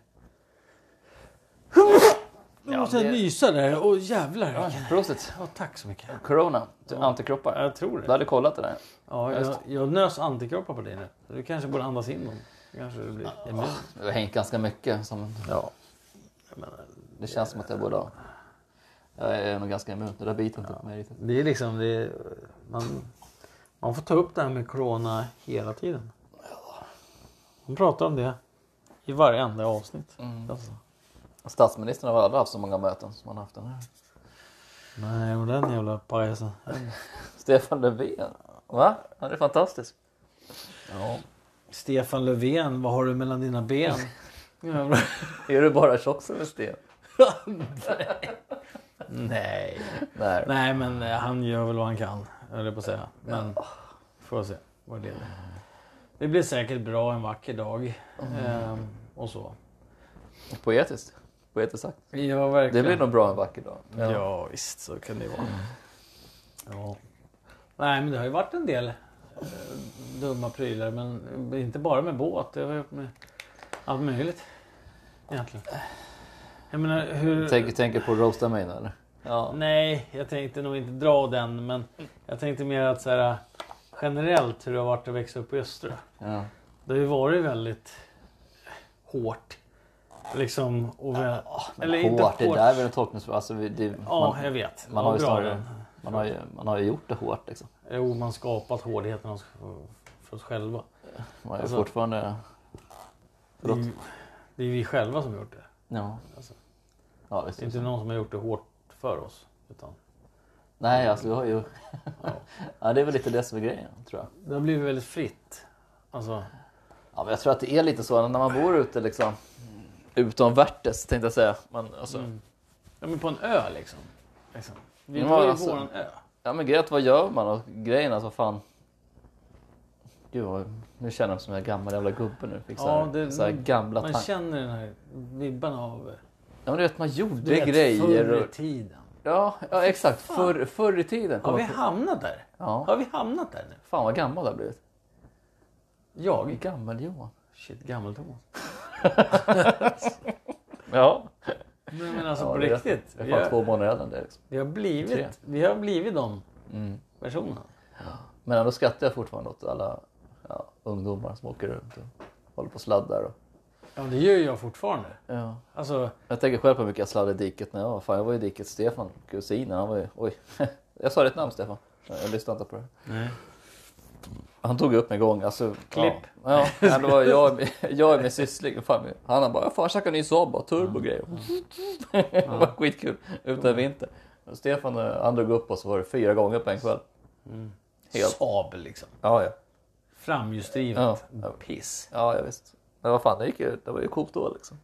[SPEAKER 2] Nu
[SPEAKER 1] Ja,
[SPEAKER 2] måste jag
[SPEAKER 1] det-
[SPEAKER 2] nysa där. Åh jävlar.
[SPEAKER 1] Ja, Prosit.
[SPEAKER 2] Ja, tack så mycket.
[SPEAKER 1] Corona. Antikroppar.
[SPEAKER 2] Jag tror
[SPEAKER 1] Du
[SPEAKER 2] det.
[SPEAKER 1] hade kollat det där.
[SPEAKER 2] Ja,
[SPEAKER 1] just
[SPEAKER 2] jag, jag nös antikroppar på dig nu. Du kanske borde andas in dem. Kanske det blir...
[SPEAKER 1] Det har hängt ganska mycket. Som,
[SPEAKER 2] Ja. Jag menar,
[SPEAKER 1] det känns som att jag borde ha. Jag är nog ganska immun. Det där biter inte på mig riktigt.
[SPEAKER 2] Det är liksom det, man, man får ta upp det här med corona hela tiden. Man pratar om det i varenda avsnitt. Alltså.
[SPEAKER 1] Statsministern har väl aldrig haft så många möten som han haft den här.
[SPEAKER 2] Nej, och den jävla pajasen.
[SPEAKER 1] Stefan Löfven. Va? Han är fantastisk.
[SPEAKER 2] Stefan Löfven, vad har du mellan dina ben? Jävla-
[SPEAKER 1] Är du bara tjock som en sten?
[SPEAKER 2] Nej.
[SPEAKER 1] Nej.
[SPEAKER 2] Nej, men eh, han gör väl vad han kan, höll jag på att säga. Men får se vad det leder. Det blir säkert bra en vacker dag. Ehm, och så.
[SPEAKER 1] Poetiskt. Poetiskt sagt.
[SPEAKER 2] Ja,
[SPEAKER 1] Det
[SPEAKER 2] verkligen.
[SPEAKER 1] blir nog bra en vacker dag.
[SPEAKER 2] Ja. visst så kan det vara. Ja. Nej men det har ju varit en del eh, dumma prylar men inte bara med båt. Det har gjort med allt möjligt. Egentligen. Jag menar hur...
[SPEAKER 1] Tänker tänker på att roasta mig nu eller? Ja.
[SPEAKER 2] Nej, jag tänkte nog inte dra den men jag tänkte mer att så här, generellt hur det har varit att växa upp i Östra.
[SPEAKER 1] ja.
[SPEAKER 2] Det har ju varit väldigt hårt. Liksom och vä- Eller
[SPEAKER 1] hårt,
[SPEAKER 2] inte hårt.
[SPEAKER 1] det där är väl en tolkningsfråga. Alltså, vi- det,
[SPEAKER 2] Ja,
[SPEAKER 1] man,
[SPEAKER 2] jag vet.
[SPEAKER 1] man, har ju
[SPEAKER 2] Bra
[SPEAKER 1] snarare,
[SPEAKER 2] den.
[SPEAKER 1] man, har ju, man har ju gjort det hårt liksom.
[SPEAKER 2] Jo, Eh, man skapat hårdheten av oss- för oss själva.
[SPEAKER 1] Man är
[SPEAKER 2] Alltså-
[SPEAKER 1] fortfarande...
[SPEAKER 2] Det
[SPEAKER 1] Mm.
[SPEAKER 2] är, ju, det är vi själva som har gjort det.
[SPEAKER 1] Ja.
[SPEAKER 2] Alltså.
[SPEAKER 1] Ja, visst.
[SPEAKER 2] Det är inte någon som har gjort det hårt för oss. Utan
[SPEAKER 1] Nej, alltså du har ju...
[SPEAKER 2] Ja.
[SPEAKER 1] ja, det är väl lite det som är grejen, tror jag.
[SPEAKER 2] det har blivit väldigt fritt. Alltså,
[SPEAKER 1] Ja, men jag tror att det är lite så när man bor ute liksom. Utomvärtes, tänkte jag säga. Man, alltså,
[SPEAKER 2] mm. ja, men på en ö liksom. liksom. Vi
[SPEAKER 1] Ja,
[SPEAKER 2] var ju
[SPEAKER 1] alltså.
[SPEAKER 2] våran ö.
[SPEAKER 1] Ja, men grejen är att vad gör man? Och grejen alltså, fan... Gud, vad- nu känner jag mig som en gammal jävla gubbe nu. Fick så här,
[SPEAKER 2] Ja, det-
[SPEAKER 1] så här gamla
[SPEAKER 2] Man
[SPEAKER 1] tankar.
[SPEAKER 2] känner den här vibban av
[SPEAKER 1] Ja, men du vet, man gjorde
[SPEAKER 2] du vet,
[SPEAKER 1] grejer.
[SPEAKER 2] förr
[SPEAKER 1] Och...
[SPEAKER 2] i tiden.
[SPEAKER 1] Ja, ja exakt. Förr, förr i tiden.
[SPEAKER 2] Har
[SPEAKER 1] Kom
[SPEAKER 2] vi
[SPEAKER 1] jag på.
[SPEAKER 2] hamnat där?
[SPEAKER 1] Ja.
[SPEAKER 2] Har vi hamnat där nu?
[SPEAKER 1] Fan vad gammal du har blivit.
[SPEAKER 2] Jag?
[SPEAKER 1] Gammel-Johan.
[SPEAKER 2] Shit, gammal Thomas.
[SPEAKER 1] Ja.
[SPEAKER 2] Men, men alltså
[SPEAKER 1] ja
[SPEAKER 2] på
[SPEAKER 1] det är-
[SPEAKER 2] riktigt.
[SPEAKER 1] Det är
[SPEAKER 2] Vi
[SPEAKER 1] fan
[SPEAKER 2] har,
[SPEAKER 1] två månader äldre än det. Liksom.
[SPEAKER 2] vi, har
[SPEAKER 1] Tre. Mm.
[SPEAKER 2] blivit, vi har blivit de personerna.
[SPEAKER 1] Men ändå skrattar jag fortfarande åt alla ja, ungdomar som åker runt och håller på och sladdar. Och...
[SPEAKER 2] Ja, det gör jag fortfarande.
[SPEAKER 1] Ja.
[SPEAKER 2] Alltså,
[SPEAKER 1] Jag tänker själv på hur mycket jag sladdade i diket när jag var fan, jag var i diket Stefan, kusinen, han var ju, oj. Jag sa ditt namn Stefan. Jag lyssnade inte på det.
[SPEAKER 2] Nej.
[SPEAKER 1] Han tog upp mig en gång, alltså.
[SPEAKER 2] Klipp.
[SPEAKER 1] Ja, ja det var jag, jag är min syssling. Fan, han har bara, fan käkar ny Saab och turbo och grejer. Det var skitkul, utan vinter. Och Stefan, eh, han drog upp oss, var det fyra gånger på en kväll. Helt.
[SPEAKER 2] Saab liksom.
[SPEAKER 1] Ja, ja.
[SPEAKER 2] Framhjulsdrivet.
[SPEAKER 1] Ja.
[SPEAKER 2] Piss.
[SPEAKER 1] Ja, ja visst. Men vad fan, det, gick ju, det var ju coolt då liksom.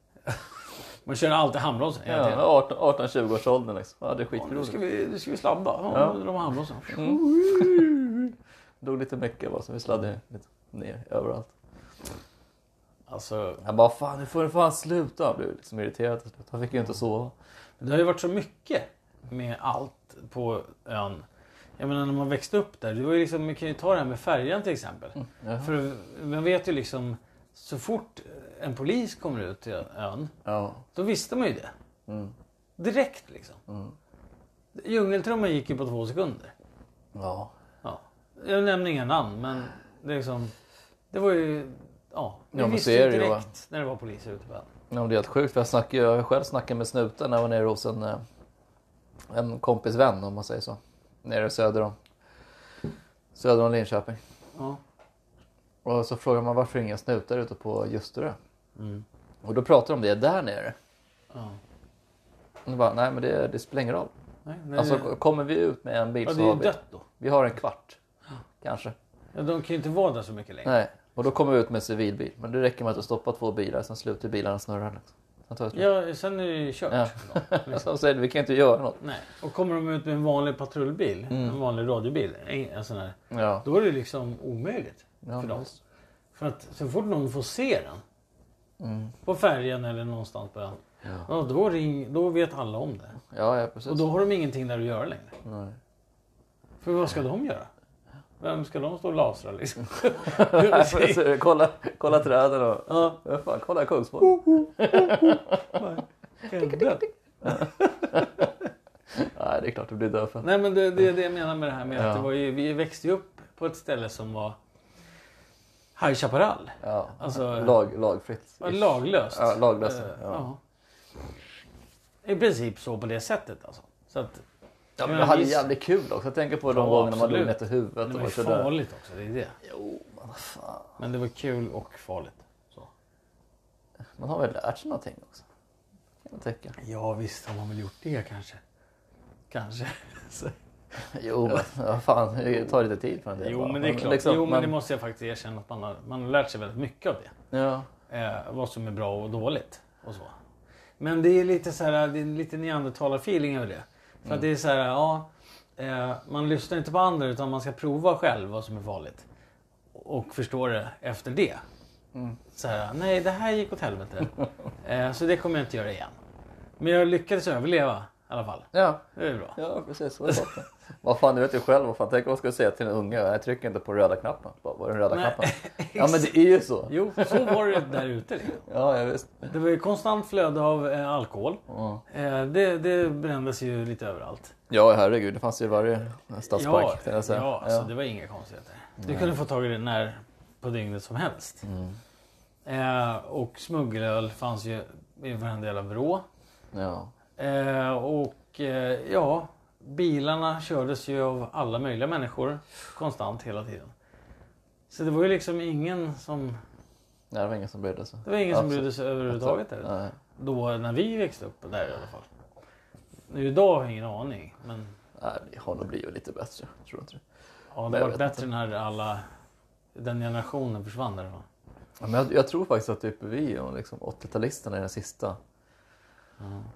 [SPEAKER 2] Man kör alltid handbromsen hela tiden.
[SPEAKER 1] Ja, 18-20 års åldern liksom. Ja, det är
[SPEAKER 2] Ja, Nu
[SPEAKER 1] skitroligt.
[SPEAKER 2] ska vi, nu ska vi sladda. Ja, Mm.
[SPEAKER 1] Ja.
[SPEAKER 2] Nu drar man handbromsen.
[SPEAKER 1] Dog lite mycket bara, så vi sladdade lite ner överallt.
[SPEAKER 2] Alltså,
[SPEAKER 1] Jag bara, fan nu får du fan sluta. Jag blev liksom irriterad till slut. Han fick ju inte sova.
[SPEAKER 2] det har ju varit så mycket med allt på ön. Jag menar när man växte upp där. Det var ju liksom, man kan ju ta det här med färjan till exempel.
[SPEAKER 1] jaha.
[SPEAKER 2] För man vet ju liksom så fort en polis kommer ut till ön.
[SPEAKER 1] Ja. mm.
[SPEAKER 2] Då visste man ju det. Direkt liksom. Djungeltrumman gick ju på två sekunder.
[SPEAKER 1] Ja.
[SPEAKER 2] Ja. Jag nämner inga namn men Det, är liksom, det var ju... Ja, vi
[SPEAKER 1] Ja, men
[SPEAKER 2] visste
[SPEAKER 1] så är
[SPEAKER 2] ju
[SPEAKER 1] det ju,
[SPEAKER 2] direkt
[SPEAKER 1] va?
[SPEAKER 2] när det var poliser ute på ön.
[SPEAKER 1] Ja, men det är helt sjukt. för Jag, snackade, jag har själv snackat med snuten när jag var nere hos en, eh, en kompis vän om man säger så. Nere söder om, söder om Linköping.
[SPEAKER 2] Ja.
[SPEAKER 1] Och så frågar man varför inga snutar ute på Ljusterö?
[SPEAKER 2] Mm.
[SPEAKER 1] Och då pratar de om det där nere.
[SPEAKER 2] Ja.
[SPEAKER 1] Och då bara, nej men det, det spelar ingen roll.
[SPEAKER 2] Nej, nej,
[SPEAKER 1] Alltså
[SPEAKER 2] det,
[SPEAKER 1] kommer vi ut med en bil
[SPEAKER 2] ja,
[SPEAKER 1] så
[SPEAKER 2] det
[SPEAKER 1] har
[SPEAKER 2] är ju
[SPEAKER 1] vi,
[SPEAKER 2] dött då.
[SPEAKER 1] vi har en kvart. Kanske.
[SPEAKER 2] Ja, de kan ju inte vara där så mycket längre.
[SPEAKER 1] Nej. Och då kommer vi ut med en civilbil. Men det räcker med att du stoppar två bilar, sen slutar bilarna snurra. Liksom. Sen tar det slut.
[SPEAKER 2] Ja, sen är det ju kört.
[SPEAKER 1] Ja.
[SPEAKER 2] för dem.
[SPEAKER 1] Som säger, vi kan inte göra något.
[SPEAKER 2] Nej. Och kommer de ut med en vanlig patrullbil,
[SPEAKER 1] Mm.
[SPEAKER 2] en vanlig radiobil, en en sån här,
[SPEAKER 1] Ja.
[SPEAKER 2] då är det liksom omöjligt
[SPEAKER 1] Ja,
[SPEAKER 2] för dem.
[SPEAKER 1] visst.
[SPEAKER 2] För att så fort någon får se den
[SPEAKER 1] Mm.
[SPEAKER 2] på färjan eller någonstans på ön, ja. då, ring, då vet alla om det.
[SPEAKER 1] Ja, ja precis.
[SPEAKER 2] Och då har de ingenting där att göra längre.
[SPEAKER 1] Nej.
[SPEAKER 2] För vad ska de göra? Vem ska de stå och lasra liksom?
[SPEAKER 1] Så, kolla, kolla träden och...
[SPEAKER 2] ja,
[SPEAKER 1] Ja, fan, kolla Kungsborg.
[SPEAKER 2] helvete.
[SPEAKER 1] Nej, det är klart det blir döfen.
[SPEAKER 2] Nej men det, det är det jag menar med det här med
[SPEAKER 1] Ja.
[SPEAKER 2] att det var ju, vi växte ju upp på ett ställe som var High Chaparral.
[SPEAKER 1] Ja.
[SPEAKER 2] Alltså-
[SPEAKER 1] Lag, lagfritt.
[SPEAKER 2] Var Laglöst.
[SPEAKER 1] Ja, laglöst,
[SPEAKER 2] Eh,
[SPEAKER 1] ja.
[SPEAKER 2] ja. I princip så på det sättet alltså. Så att,
[SPEAKER 1] Ja, men
[SPEAKER 2] men
[SPEAKER 1] jag hade
[SPEAKER 2] visst.
[SPEAKER 1] jävligt kul också. Jag tänker på de
[SPEAKER 2] Ja,
[SPEAKER 1] gångerna man
[SPEAKER 2] absolut.
[SPEAKER 1] låg ner till huvudet
[SPEAKER 2] det
[SPEAKER 1] och
[SPEAKER 2] var ju
[SPEAKER 1] var sådär.
[SPEAKER 2] farligt också, det är det.
[SPEAKER 1] Jo, men vad fan.
[SPEAKER 2] Men det var kul och farligt. Så.
[SPEAKER 1] Man har väl lärt sig någonting också. Kan jag tycka.
[SPEAKER 2] Ja visst har man väl gjort det kanske. Kanske. Så.
[SPEAKER 1] Jo, men ja, fan. Det tar lite tid för en del.
[SPEAKER 2] Jo
[SPEAKER 1] bara.
[SPEAKER 2] men det är klart.
[SPEAKER 1] liksom,
[SPEAKER 2] jo men
[SPEAKER 1] man-
[SPEAKER 2] det måste jag faktiskt erkänna att man har, man har lärt sig väldigt mycket av det.
[SPEAKER 1] Ja,
[SPEAKER 2] eh, vad som är bra och dåligt. Och så. Men det är lite så här, det är lite neandertalar-feeling över det. För
[SPEAKER 1] Mm.
[SPEAKER 2] att det är så här, ja, eh, man lyssnar inte på andra utan man ska prova själv vad som är farligt. Och förstå det efter det.
[SPEAKER 1] Mm.
[SPEAKER 2] Så här, nej det här gick åt helvete. eh, så det kommer jag inte göra igen. Men jag lyckades överleva i alla fall.
[SPEAKER 1] ja.
[SPEAKER 2] Det är bra.
[SPEAKER 1] Ja, precis. Så är det gott. Vad fan, du vet ju själv. Vad fan, tänk om man skulle säga till en unge. Jag trycker inte på röda knappen. Bara, var är den röda
[SPEAKER 2] Nej,
[SPEAKER 1] knappen? Ja, men det är ju så.
[SPEAKER 2] Jo, så var det där ute. Liksom.
[SPEAKER 1] Ja, ja visst.
[SPEAKER 2] Det var ju konstant flöde av eh, alkohol.
[SPEAKER 1] Ja.
[SPEAKER 2] Eh, det, det brändes ju lite överallt.
[SPEAKER 1] Ja, herregud. Det fanns ju i varje stadspark. tänkte jag säga.
[SPEAKER 2] ja, alltså det var inga konstigheter. Du kunde få tag i det när på dygnet som helst.
[SPEAKER 1] Mm.
[SPEAKER 2] Eh, och smuggelöl fanns ju i varenda jävla vrå.
[SPEAKER 1] ja.
[SPEAKER 2] Eh, och eh, ja, bilarna kördes ju av alla möjliga människor konstant hela tiden. Så det var ju liksom ingen som,
[SPEAKER 1] Nej, det var ingen som brydde sig.
[SPEAKER 2] det var ingen som
[SPEAKER 1] Absolut.
[SPEAKER 2] brydde sig överhuvudtaget. Där.
[SPEAKER 1] Nej.
[SPEAKER 2] Då när vi växte upp där i alla fall. Nu idag har jag ingen aning. Men
[SPEAKER 1] Nej, det har nog blivit lite bättre. Tror du inte det?
[SPEAKER 2] ja, det
[SPEAKER 1] jag
[SPEAKER 2] var
[SPEAKER 1] vet
[SPEAKER 2] bättre när alla, den generationen försvann därifrån.
[SPEAKER 1] Ja, men jag, jag tror faktiskt att typ vi och liksom 80-talisterna är den sista.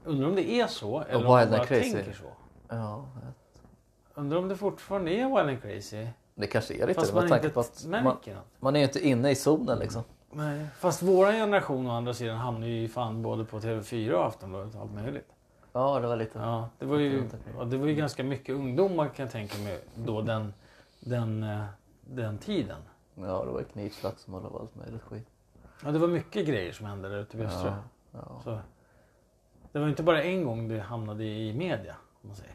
[SPEAKER 2] Undrar om det är så eller om
[SPEAKER 1] Wild
[SPEAKER 2] man
[SPEAKER 1] and
[SPEAKER 2] bara
[SPEAKER 1] Crazy.
[SPEAKER 2] tänker så.
[SPEAKER 1] Ja,
[SPEAKER 2] Undrar om det fortfarande är Wild and Crazy.
[SPEAKER 1] det kanske är lite
[SPEAKER 2] Fast
[SPEAKER 1] det, med
[SPEAKER 2] man
[SPEAKER 1] tanke
[SPEAKER 2] inte Mm.
[SPEAKER 1] på att
[SPEAKER 2] märker
[SPEAKER 1] man,
[SPEAKER 2] något.
[SPEAKER 1] man är ju inte inne i zonen liksom.
[SPEAKER 2] Nej. Fast våran generation å andra sidan hamnade ju fan både på TV4 och Aftonbladet och allt möjligt.
[SPEAKER 1] Ja, det var lite...
[SPEAKER 2] Ja, det, var ju,
[SPEAKER 1] Runt omkring.
[SPEAKER 2] ja, det var ju ganska mycket ungdomar kan jag tänka mig då den, den, eh, den tiden.
[SPEAKER 1] Ja, det var knivslagsmål och allt möjligt skit.
[SPEAKER 2] Ja, det var mycket grejer som hände där ute på Östra.
[SPEAKER 1] Ja.
[SPEAKER 2] Så Det var ju inte bara en gång det hamnade i media. Om man säger.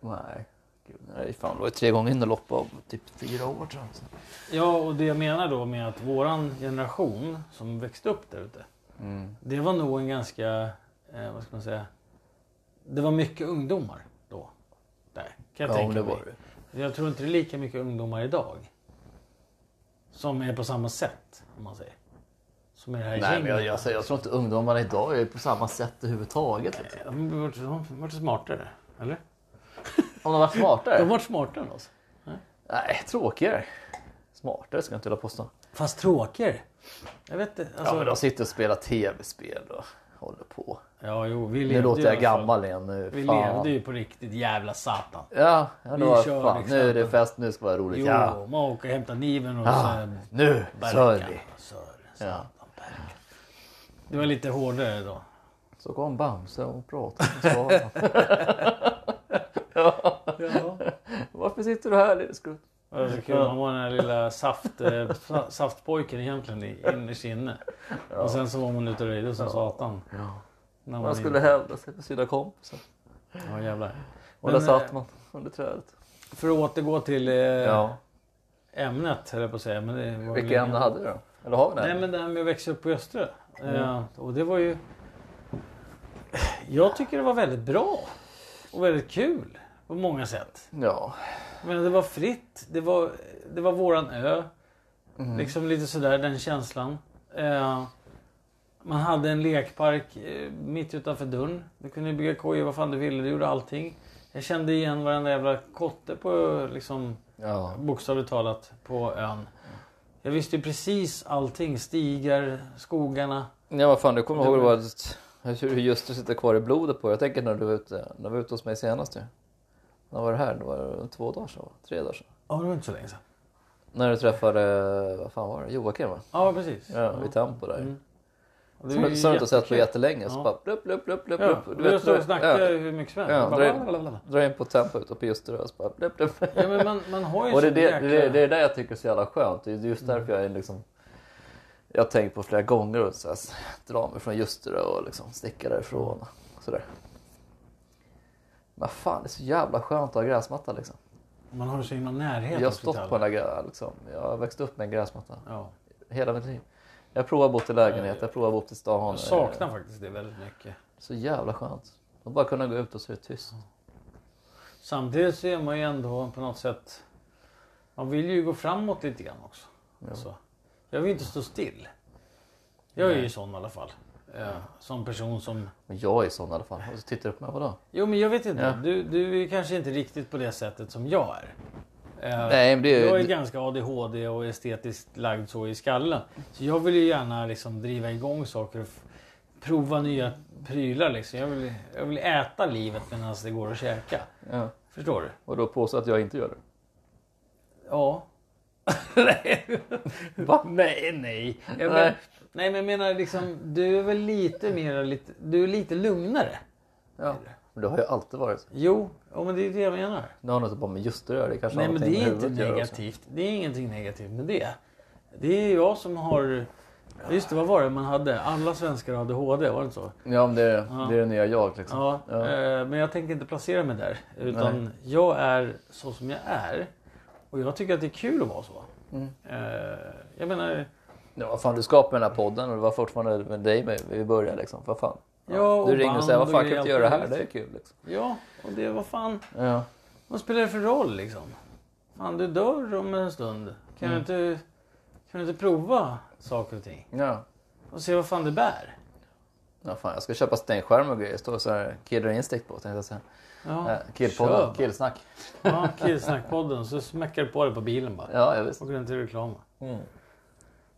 [SPEAKER 1] Nej. Gud, nej, fan, det var ju tre gånger in och loppa om typ fyra år sedan.
[SPEAKER 2] Ja, och det jag menar då med att våran generation som växte upp där ute.
[SPEAKER 1] Mm.
[SPEAKER 2] Det var nog en ganska, eh, vad ska man säga, det var mycket ungdomar då. Där, kan jag
[SPEAKER 1] Ja,
[SPEAKER 2] tänka
[SPEAKER 1] det
[SPEAKER 2] mig.
[SPEAKER 1] var det.
[SPEAKER 2] Jag tror inte det är lika mycket ungdomar idag. Som är på samma sätt, om man säger. Som är det här
[SPEAKER 1] Nej, men
[SPEAKER 2] gänget.
[SPEAKER 1] jag, jag, säger, jag tror inte ungdomarna idag är på samma sätt överhuvudtaget. Liksom.
[SPEAKER 2] De har varit- de har varit smartare, eller?
[SPEAKER 1] Eh. Om de var
[SPEAKER 2] De har
[SPEAKER 1] smartare?
[SPEAKER 2] varit smartare än oss.
[SPEAKER 1] Nej, tråkigare. Smartare ska jag inte vilja påstå.
[SPEAKER 2] Fast tråkigare. Jag vet inte.
[SPEAKER 1] Ja,
[SPEAKER 2] Alltså,
[SPEAKER 1] men de sitter och spelar tv-spel och håller på.
[SPEAKER 2] ja, jo, vi levde
[SPEAKER 1] Nu
[SPEAKER 2] ju
[SPEAKER 1] låter
[SPEAKER 2] i alla
[SPEAKER 1] jag
[SPEAKER 2] fall.
[SPEAKER 1] gammal igen. Nu,
[SPEAKER 2] Vi
[SPEAKER 1] fan.
[SPEAKER 2] levde ju på riktigt jävla satan.
[SPEAKER 1] Ja, ja då,
[SPEAKER 2] kör
[SPEAKER 1] fan,
[SPEAKER 2] liksom.
[SPEAKER 1] nu är det fest, nu ska det vara roligt.
[SPEAKER 2] Jo,
[SPEAKER 1] ja. Ah,
[SPEAKER 2] man åker och hämtar kniven och
[SPEAKER 1] ja,
[SPEAKER 2] sen
[SPEAKER 1] nu kör vi.
[SPEAKER 2] Sören,
[SPEAKER 1] Ja.
[SPEAKER 2] Det var lite hårdare då.
[SPEAKER 1] Så kom Bamse och pratade och svarade.
[SPEAKER 2] Ja.
[SPEAKER 1] Varför sitter du här lille skrutt?
[SPEAKER 2] Det var så kul. Han var den här lilla saft, eh, sa- saftpojken egentligen i- innerst inne. Och sen så var man ute och röjde som satan.
[SPEAKER 1] Ja.
[SPEAKER 2] När
[SPEAKER 1] Man
[SPEAKER 2] man
[SPEAKER 1] skulle hävda sig för sina kompisar.
[SPEAKER 2] Ja jävlar.
[SPEAKER 1] Och
[SPEAKER 2] Men,
[SPEAKER 1] där satt
[SPEAKER 2] eh,
[SPEAKER 1] man under trädet.
[SPEAKER 2] För att återgå till eh,
[SPEAKER 1] Ja.
[SPEAKER 2] ämnet höll jag på att säga. Men det var väl
[SPEAKER 1] Vilka ämnen
[SPEAKER 2] ingen-
[SPEAKER 1] hade du då? Eller har vi det?
[SPEAKER 2] Nej men det här med att växa upp i Östra.
[SPEAKER 1] Mm.
[SPEAKER 2] Eh, och det var ju... Jag tycker det var väldigt bra. Och väldigt kul. På många sätt.
[SPEAKER 1] Ja.
[SPEAKER 2] Men det var fritt. Det var, det var våran ö.
[SPEAKER 1] Mm.
[SPEAKER 2] Liksom lite sådär den känslan. Eh, man hade en lekpark eh, mitt utanför dörren. Du kunde bygga kojor vad fan du ville. Du gjorde allting. Jag kände igen varenda jävla kotte på liksom
[SPEAKER 1] ja.
[SPEAKER 2] bokstavligt talat på ön. Jag visste ju precis allting. Stigar, skogarna.
[SPEAKER 1] Ja vad fan, du kommer ihåg det var ett, hur hur just det sitter kvar i blodet på dig. Jag tänker när du var ute, när du var ute hos mig senast ju. När var det här? Det var två dagar sedan, va? tre dagar sedan.
[SPEAKER 2] Ja, det var inte så länge sedan.
[SPEAKER 1] När du träffade, vad fan var det, Joakim va?
[SPEAKER 2] Ja, precis.
[SPEAKER 1] Ja, vid Tempo där.
[SPEAKER 2] Mm. Och det var
[SPEAKER 1] Som,
[SPEAKER 2] ju
[SPEAKER 1] som du inte har sett på
[SPEAKER 2] jättekul.
[SPEAKER 1] jättelänge. Så
[SPEAKER 2] Ja.
[SPEAKER 1] bara plupp, plupp, plupp, plupp.
[SPEAKER 2] Ja,
[SPEAKER 1] plupp.
[SPEAKER 2] och jag stod och snackade
[SPEAKER 1] ja,
[SPEAKER 2] hur mycket som
[SPEAKER 1] Ja,
[SPEAKER 2] helst. Bara
[SPEAKER 1] dra in-
[SPEAKER 2] blablabla.
[SPEAKER 1] dra in på Tempo ute på just det där. Så bara plupp, plupp.
[SPEAKER 2] Ja, men man, man har ju
[SPEAKER 1] Och det är
[SPEAKER 2] sån
[SPEAKER 1] det,
[SPEAKER 2] jäkla... Mm.
[SPEAKER 1] det, är- det är det jag tycker är så jävla skönt. Det är just därför jag är liksom... Jag har tänkt på flera gånger att så här, dra mig från just det där och liksom sticka därifrån. och Sådär. Men fan, det är så jävla skönt att ha gräsmatta liksom.
[SPEAKER 2] Man har ju så himla närhet.
[SPEAKER 1] Jag har
[SPEAKER 2] också till alla.
[SPEAKER 1] stått på den där grä- liksom. Jag har växt upp med en gräsmatta
[SPEAKER 2] Ja.
[SPEAKER 1] hela mitt liv. Jag provar bott i lägenhet, jag provar bott i stan.
[SPEAKER 2] Jag saknar faktiskt det väldigt mycket.
[SPEAKER 1] Så jävla skönt. Att bara kunna gå ut och så är det
[SPEAKER 2] Mm.
[SPEAKER 1] tyst.
[SPEAKER 2] Samtidigt så är man ju ändå på något sätt... Man vill ju gå framåt lite grann också. Så. Jag vill ju inte stå still. Jag är ju sån i alla fall. Eh, som person som...
[SPEAKER 1] Men jag är sån i alla fall. Och så tittar du på mig, vadå?
[SPEAKER 2] Jo men jag vet inte.
[SPEAKER 1] Ja.
[SPEAKER 2] Du, du är kanske inte riktigt på det sättet som jag är. Eh,
[SPEAKER 1] Nej, men det är-
[SPEAKER 2] Jag är ganska ADHD och estetiskt lagd så i skallen. Så jag vill ju gärna liksom driva igång saker och f- prova nya prylar liksom. Jag vill, jag vill äta livet medan det går att käka.
[SPEAKER 1] Ja.
[SPEAKER 2] Förstår du?
[SPEAKER 1] Och då påstår att jag inte gör det.
[SPEAKER 2] Ja. nej. Va? Nej, nej. Jag men,
[SPEAKER 1] Nej.
[SPEAKER 2] nej, men jag menar liksom, du är väl lite mer, lite, du är lite lugnare.
[SPEAKER 1] Ja. Men det har ju alltid varit så.
[SPEAKER 2] Jo, ja, men det är det jag menar.
[SPEAKER 1] Nu har nog inte bara med just det där. Det kanske
[SPEAKER 2] Nej,
[SPEAKER 1] har
[SPEAKER 2] men det
[SPEAKER 1] någonting
[SPEAKER 2] är
[SPEAKER 1] med
[SPEAKER 2] inte
[SPEAKER 1] huvudet att göra också.
[SPEAKER 2] negativt. Det är ingenting negativt med det. Det är jag som har... Just det, vad var det man hade? Alla svenskar har ADHD, var det inte så?
[SPEAKER 1] Ja, men det är, det är det nya jag liksom.
[SPEAKER 2] Ja,
[SPEAKER 1] Ja.
[SPEAKER 2] eh, men jag tänker inte placera mig där. Utan jag är så som jag är. Och jag tycker att det är kul att vara så. Eh, Jag menar,
[SPEAKER 1] Mm. Ja, vad fan, du skapade den här podden och det var fortfarande med dig med vi började liksom. Vad fan.
[SPEAKER 2] Ja, och
[SPEAKER 1] du ringde och sa,
[SPEAKER 2] band
[SPEAKER 1] vad fan
[SPEAKER 2] och
[SPEAKER 1] kan du inte
[SPEAKER 2] grejer,
[SPEAKER 1] göra det här?
[SPEAKER 2] allt
[SPEAKER 1] Det är
[SPEAKER 2] möjligt.
[SPEAKER 1] kul liksom.
[SPEAKER 2] ja, och det var fan...
[SPEAKER 1] Ja.
[SPEAKER 2] Vad spelar det för roll liksom? Fan, du dör om en stund. Kan,
[SPEAKER 1] Mm.
[SPEAKER 2] du, inte, kan du inte prova saker och ting?
[SPEAKER 1] Ja.
[SPEAKER 2] Och se vad fan det bär?
[SPEAKER 1] ja, fan jag ska köpa stänkskärm och grejer. Står så här Killer Instinct på tänkte jag säga.
[SPEAKER 2] Ja,
[SPEAKER 1] Ja, killpodden,
[SPEAKER 2] kör.
[SPEAKER 1] killsnack.
[SPEAKER 2] Ja, Killsnackpodden. Så smäcker du på det på bilen bara.
[SPEAKER 1] Ja, jag visst. Mm.
[SPEAKER 2] Och går inte till reklam.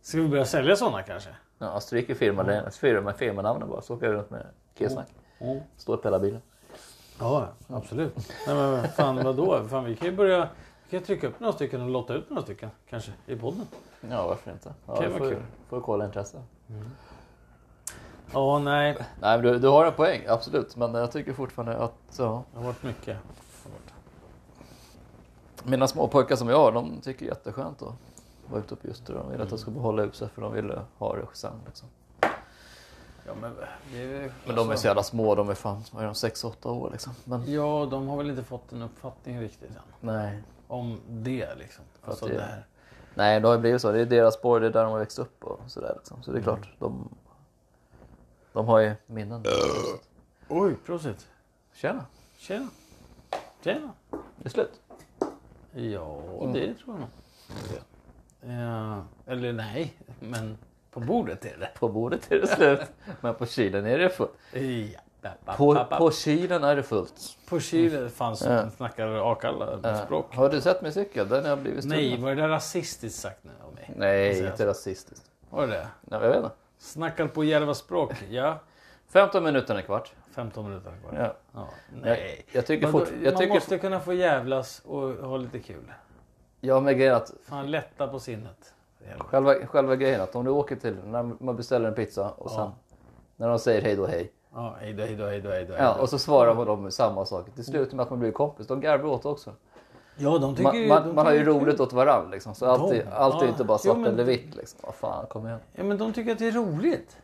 [SPEAKER 2] Ska vi börja sälja sådana kanske?
[SPEAKER 1] Ja, stryker firman, firma, firmanamnen bara så åker jag runt med killsnack.
[SPEAKER 2] Mm.
[SPEAKER 1] Står upp hela bilen.
[SPEAKER 2] Ja, absolut. Nej, men men fan vadå? Fan, vi kan ju börja... Vi kan trycka upp några stycken och lotta ut några stycken kanske i podden.
[SPEAKER 1] Ja, varför inte? Ja,
[SPEAKER 2] Kan
[SPEAKER 1] det
[SPEAKER 2] vara
[SPEAKER 1] får,
[SPEAKER 2] kul.
[SPEAKER 1] får kolla intresse.
[SPEAKER 2] Ja, nej.
[SPEAKER 1] Nej, men du, du har en poäng, absolut. Men jag tycker fortfarande att ja,
[SPEAKER 2] Det har varit mycket.
[SPEAKER 1] mina småpojkar som jag har, de tycker det är jätteskönt att vara ute på just det. De vill att jag
[SPEAKER 2] Mm.
[SPEAKER 1] ska behålla huset för de vill ha det sen. Liksom.
[SPEAKER 2] Ja, men det är ju...
[SPEAKER 1] Men de är så jävla små, de är fan, vad är de, 6-8 år liksom. Men
[SPEAKER 2] Ja, de har väl inte fått en uppfattning riktigt än.
[SPEAKER 1] nej,
[SPEAKER 2] Om det liksom. Alltså
[SPEAKER 1] det-
[SPEAKER 2] det här.
[SPEAKER 1] nej, det har ju blivit så. Det är deras spår, det är där de har växt upp och sådär. Liksom. Så det är
[SPEAKER 2] Mm.
[SPEAKER 1] klart, de, de har ju minnen.
[SPEAKER 2] Oj, prosit.
[SPEAKER 1] Tjena,
[SPEAKER 2] Tjena. Tjena.
[SPEAKER 1] det är slut.
[SPEAKER 2] Ja, det tror jag nog. Ja, eller nej, men på bordet är det.
[SPEAKER 1] På bordet är det slut, men på kylen är det fullt.
[SPEAKER 2] Ja. ba, ba, ba,
[SPEAKER 1] På,
[SPEAKER 2] ba.
[SPEAKER 1] på kylen är det fullt.
[SPEAKER 2] på Chile fanns det som snackade akalla språk.
[SPEAKER 1] Eh, Har du sett min cykel? Den har blivit stulen.
[SPEAKER 2] Nej, var det där rasistiskt sagt nu av mig?
[SPEAKER 1] Nej, inte rasistiskt.
[SPEAKER 2] Var det det?
[SPEAKER 1] Nej, jag vet inte.
[SPEAKER 2] Snackar på järva språk, ja.
[SPEAKER 1] 15 minuter och en kvart.
[SPEAKER 2] 15 minuter kvar.
[SPEAKER 1] Ja.
[SPEAKER 2] Ja, nej.
[SPEAKER 1] Jag, jag tycker
[SPEAKER 2] Vadå?
[SPEAKER 1] fort... Jag
[SPEAKER 2] Man
[SPEAKER 1] tycker...
[SPEAKER 2] måste kunna få jävlas och ha lite kul.
[SPEAKER 1] Ja, men grejen är att
[SPEAKER 2] Fan, lätta på sinnet. Jävlar.
[SPEAKER 1] själva, själva grejen är att om du åker till... När man beställer en pizza och sen... När de säger hej då hej.
[SPEAKER 2] Ja, hej då, hej då, hej då, hej då. hej
[SPEAKER 1] Ja,
[SPEAKER 2] då.
[SPEAKER 1] och så svarar man dem samma sak. Det slutar med att man blir kompis. De garvar åt också.
[SPEAKER 2] ja de tycker
[SPEAKER 1] Man,
[SPEAKER 2] ju... de
[SPEAKER 1] man, man har ju
[SPEAKER 2] tycker det är kul.
[SPEAKER 1] roligt åt varandra liksom. Så allt är,
[SPEAKER 2] De?
[SPEAKER 1] allt är
[SPEAKER 2] Ja.
[SPEAKER 1] inte bara
[SPEAKER 2] Jo,
[SPEAKER 1] svart
[SPEAKER 2] men-
[SPEAKER 1] eller vitt liksom. Vad fan, kom igen.
[SPEAKER 2] Ja, men de tycker att det är roligt.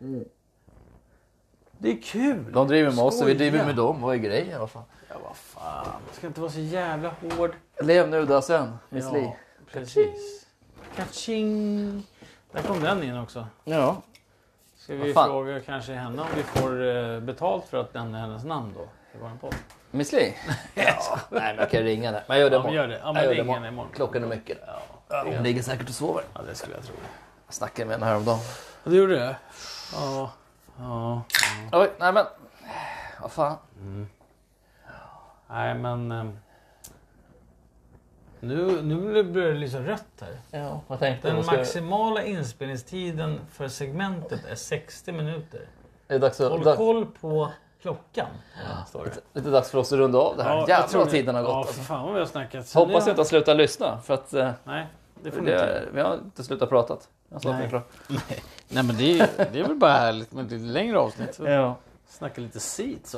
[SPEAKER 2] Det är kul.
[SPEAKER 1] Mm. De driver med oss och vi
[SPEAKER 2] Skoja.
[SPEAKER 1] driver med dem. Vad är grejen? Vad fan?
[SPEAKER 2] Ja, vad fan. Du ska inte vara så jävla hård.
[SPEAKER 1] Lev nu då sen, Miss Li.
[SPEAKER 2] precis. Kaching! Där kom den in också.
[SPEAKER 1] Ja.
[SPEAKER 2] Ska
[SPEAKER 1] Vad
[SPEAKER 2] vi
[SPEAKER 1] fan?
[SPEAKER 2] fråga kanske henne om vi får eh, betalt för att nämna hennes namn då? I våran podd.
[SPEAKER 1] Miss Li? Ja, nej, men jag kan ringa henne. Men jag gör det
[SPEAKER 2] Ja, men
[SPEAKER 1] imorgon.
[SPEAKER 2] gör det. Ja,
[SPEAKER 1] Jag
[SPEAKER 2] men
[SPEAKER 1] gör
[SPEAKER 2] ring
[SPEAKER 1] imorgon.
[SPEAKER 2] henne imorgon.
[SPEAKER 1] Klockan är mycket.
[SPEAKER 2] Ja,
[SPEAKER 1] Hon ligger säkert och sover.
[SPEAKER 2] ja, det skulle jag tro.
[SPEAKER 1] Jag snackade med henne häromdagen.
[SPEAKER 2] Ja, Du gjorde det? Ja. ja.
[SPEAKER 1] Oj, nej men. Vad fan.
[SPEAKER 2] Nej, men... ehm, Nu, nu blir det liksom rött här.
[SPEAKER 1] Ja, vad tänkte
[SPEAKER 2] Den
[SPEAKER 1] du? Ska...
[SPEAKER 2] maximala inspelningstiden för segmentet är 60 minuter.
[SPEAKER 1] Är det dags att...
[SPEAKER 2] Håll
[SPEAKER 1] dags-
[SPEAKER 2] koll på klockan. Ja, står det.
[SPEAKER 1] Lite dags för oss att runda av det här.
[SPEAKER 2] Ja, jag
[SPEAKER 1] Jävlar
[SPEAKER 2] tror
[SPEAKER 1] vad
[SPEAKER 2] det.
[SPEAKER 1] tiden har gått.
[SPEAKER 2] Ja,
[SPEAKER 1] alltså.
[SPEAKER 2] för fan vad vi har snackat. Så
[SPEAKER 1] Hoppas
[SPEAKER 2] nu-
[SPEAKER 1] inte att sluta lyssna för att eh,
[SPEAKER 2] Nej, det får ni inte.
[SPEAKER 1] det, vi har inte slutat prata. Jag sa att jag är
[SPEAKER 2] Nej.
[SPEAKER 1] klar.
[SPEAKER 2] Nej, men det är, det är väl bara härligt med lite längre avsnitt. Så
[SPEAKER 1] Ja.
[SPEAKER 2] Snacka lite sit så.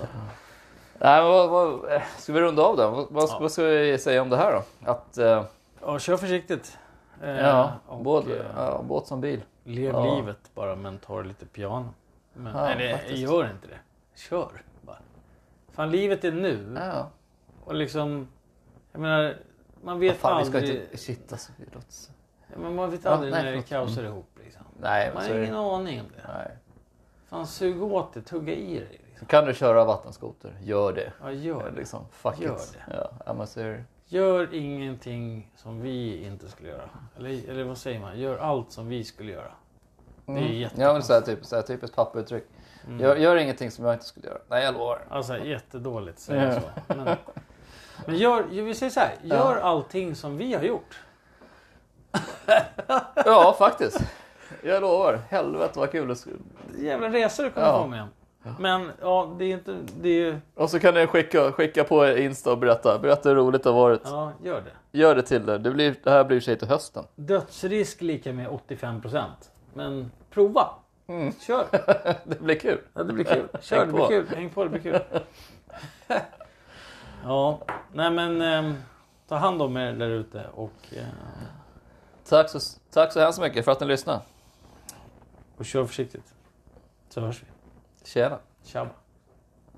[SPEAKER 1] Nej, men vad, vad, eh, ska vi runda av då? Vad, vad,
[SPEAKER 2] Ja.
[SPEAKER 1] vad ska vi säga om det här då? Att, eh,
[SPEAKER 2] Ja, kör försiktigt. Eh,
[SPEAKER 1] ja,
[SPEAKER 2] och,
[SPEAKER 1] båt,
[SPEAKER 2] eh,
[SPEAKER 1] ja, båt som bil.
[SPEAKER 2] Lev
[SPEAKER 1] Ja.
[SPEAKER 2] livet bara men ta det lite piano. Men,
[SPEAKER 1] Ja,
[SPEAKER 2] nej, det-
[SPEAKER 1] faktiskt.
[SPEAKER 2] gör inte det. Kör bara. Fan, livet är nu.
[SPEAKER 1] Ja.
[SPEAKER 2] Och liksom, jag menar, man vet
[SPEAKER 1] Fan, vi ska
[SPEAKER 2] aldrig,
[SPEAKER 1] inte... Shit alltså. det låter så-
[SPEAKER 2] ja, men man vet
[SPEAKER 1] Ja,
[SPEAKER 2] aldrig
[SPEAKER 1] nej,
[SPEAKER 2] när det
[SPEAKER 1] förlåt.
[SPEAKER 2] kaosar ihop. Liksom.
[SPEAKER 1] Nej, men
[SPEAKER 2] Man
[SPEAKER 1] så
[SPEAKER 2] har
[SPEAKER 1] är
[SPEAKER 2] ingen
[SPEAKER 1] det.
[SPEAKER 2] aning om det.
[SPEAKER 1] Nej.
[SPEAKER 2] Fan, sug åt det, tugga i det. Liksom.
[SPEAKER 1] Kan du köra vattenskoter, gör det.
[SPEAKER 2] Ja, gör det.
[SPEAKER 1] Liksom, fuck
[SPEAKER 2] Gör
[SPEAKER 1] it.
[SPEAKER 2] det.
[SPEAKER 1] Ja, ja, men så är det.
[SPEAKER 2] Gör ingenting som vi inte skulle göra. Eller, eller vad säger man? Gör allt som vi skulle göra. Det är jättekonstigt.
[SPEAKER 1] Mm. Ja, men så här, typ, så här, typiskt pappauttryck. Gör, gör ingenting som jag inte skulle göra. Nej, jag lovar.
[SPEAKER 2] Mm. Alltså jättedåligt säga så. Men, men gör, ju, vi säger så här, gör allting som vi har gjort.
[SPEAKER 1] Ja, faktiskt. Jag lovar. Helvete vad kul det skulle
[SPEAKER 2] Jävla resor du kommer
[SPEAKER 1] Ja.
[SPEAKER 2] få med. Men ja, det är inte, det är ju,
[SPEAKER 1] Och så kan ni skicka, skicka på Insta och berätta. Berätta hur roligt det har varit.
[SPEAKER 2] ja gör det.
[SPEAKER 1] Gör det till det. Det, blir, det här blir i och för sig till hösten.
[SPEAKER 2] Dödsrisk lika med 85%. Men prova!
[SPEAKER 1] Mm.
[SPEAKER 2] Kör!
[SPEAKER 1] Det blir kul.
[SPEAKER 2] Ja, det blir kul. Kör,
[SPEAKER 1] Häng
[SPEAKER 2] det blir
[SPEAKER 1] på.
[SPEAKER 2] kul. Häng på, det blir kul. Ja, nej men ehm, ta hand om er där ute och, eh,
[SPEAKER 1] Tack så, tack så hemskt mycket för att ni lyssnade.
[SPEAKER 2] och kör försiktigt. Så hörs vi.
[SPEAKER 1] Tjena.
[SPEAKER 2] Tjabba!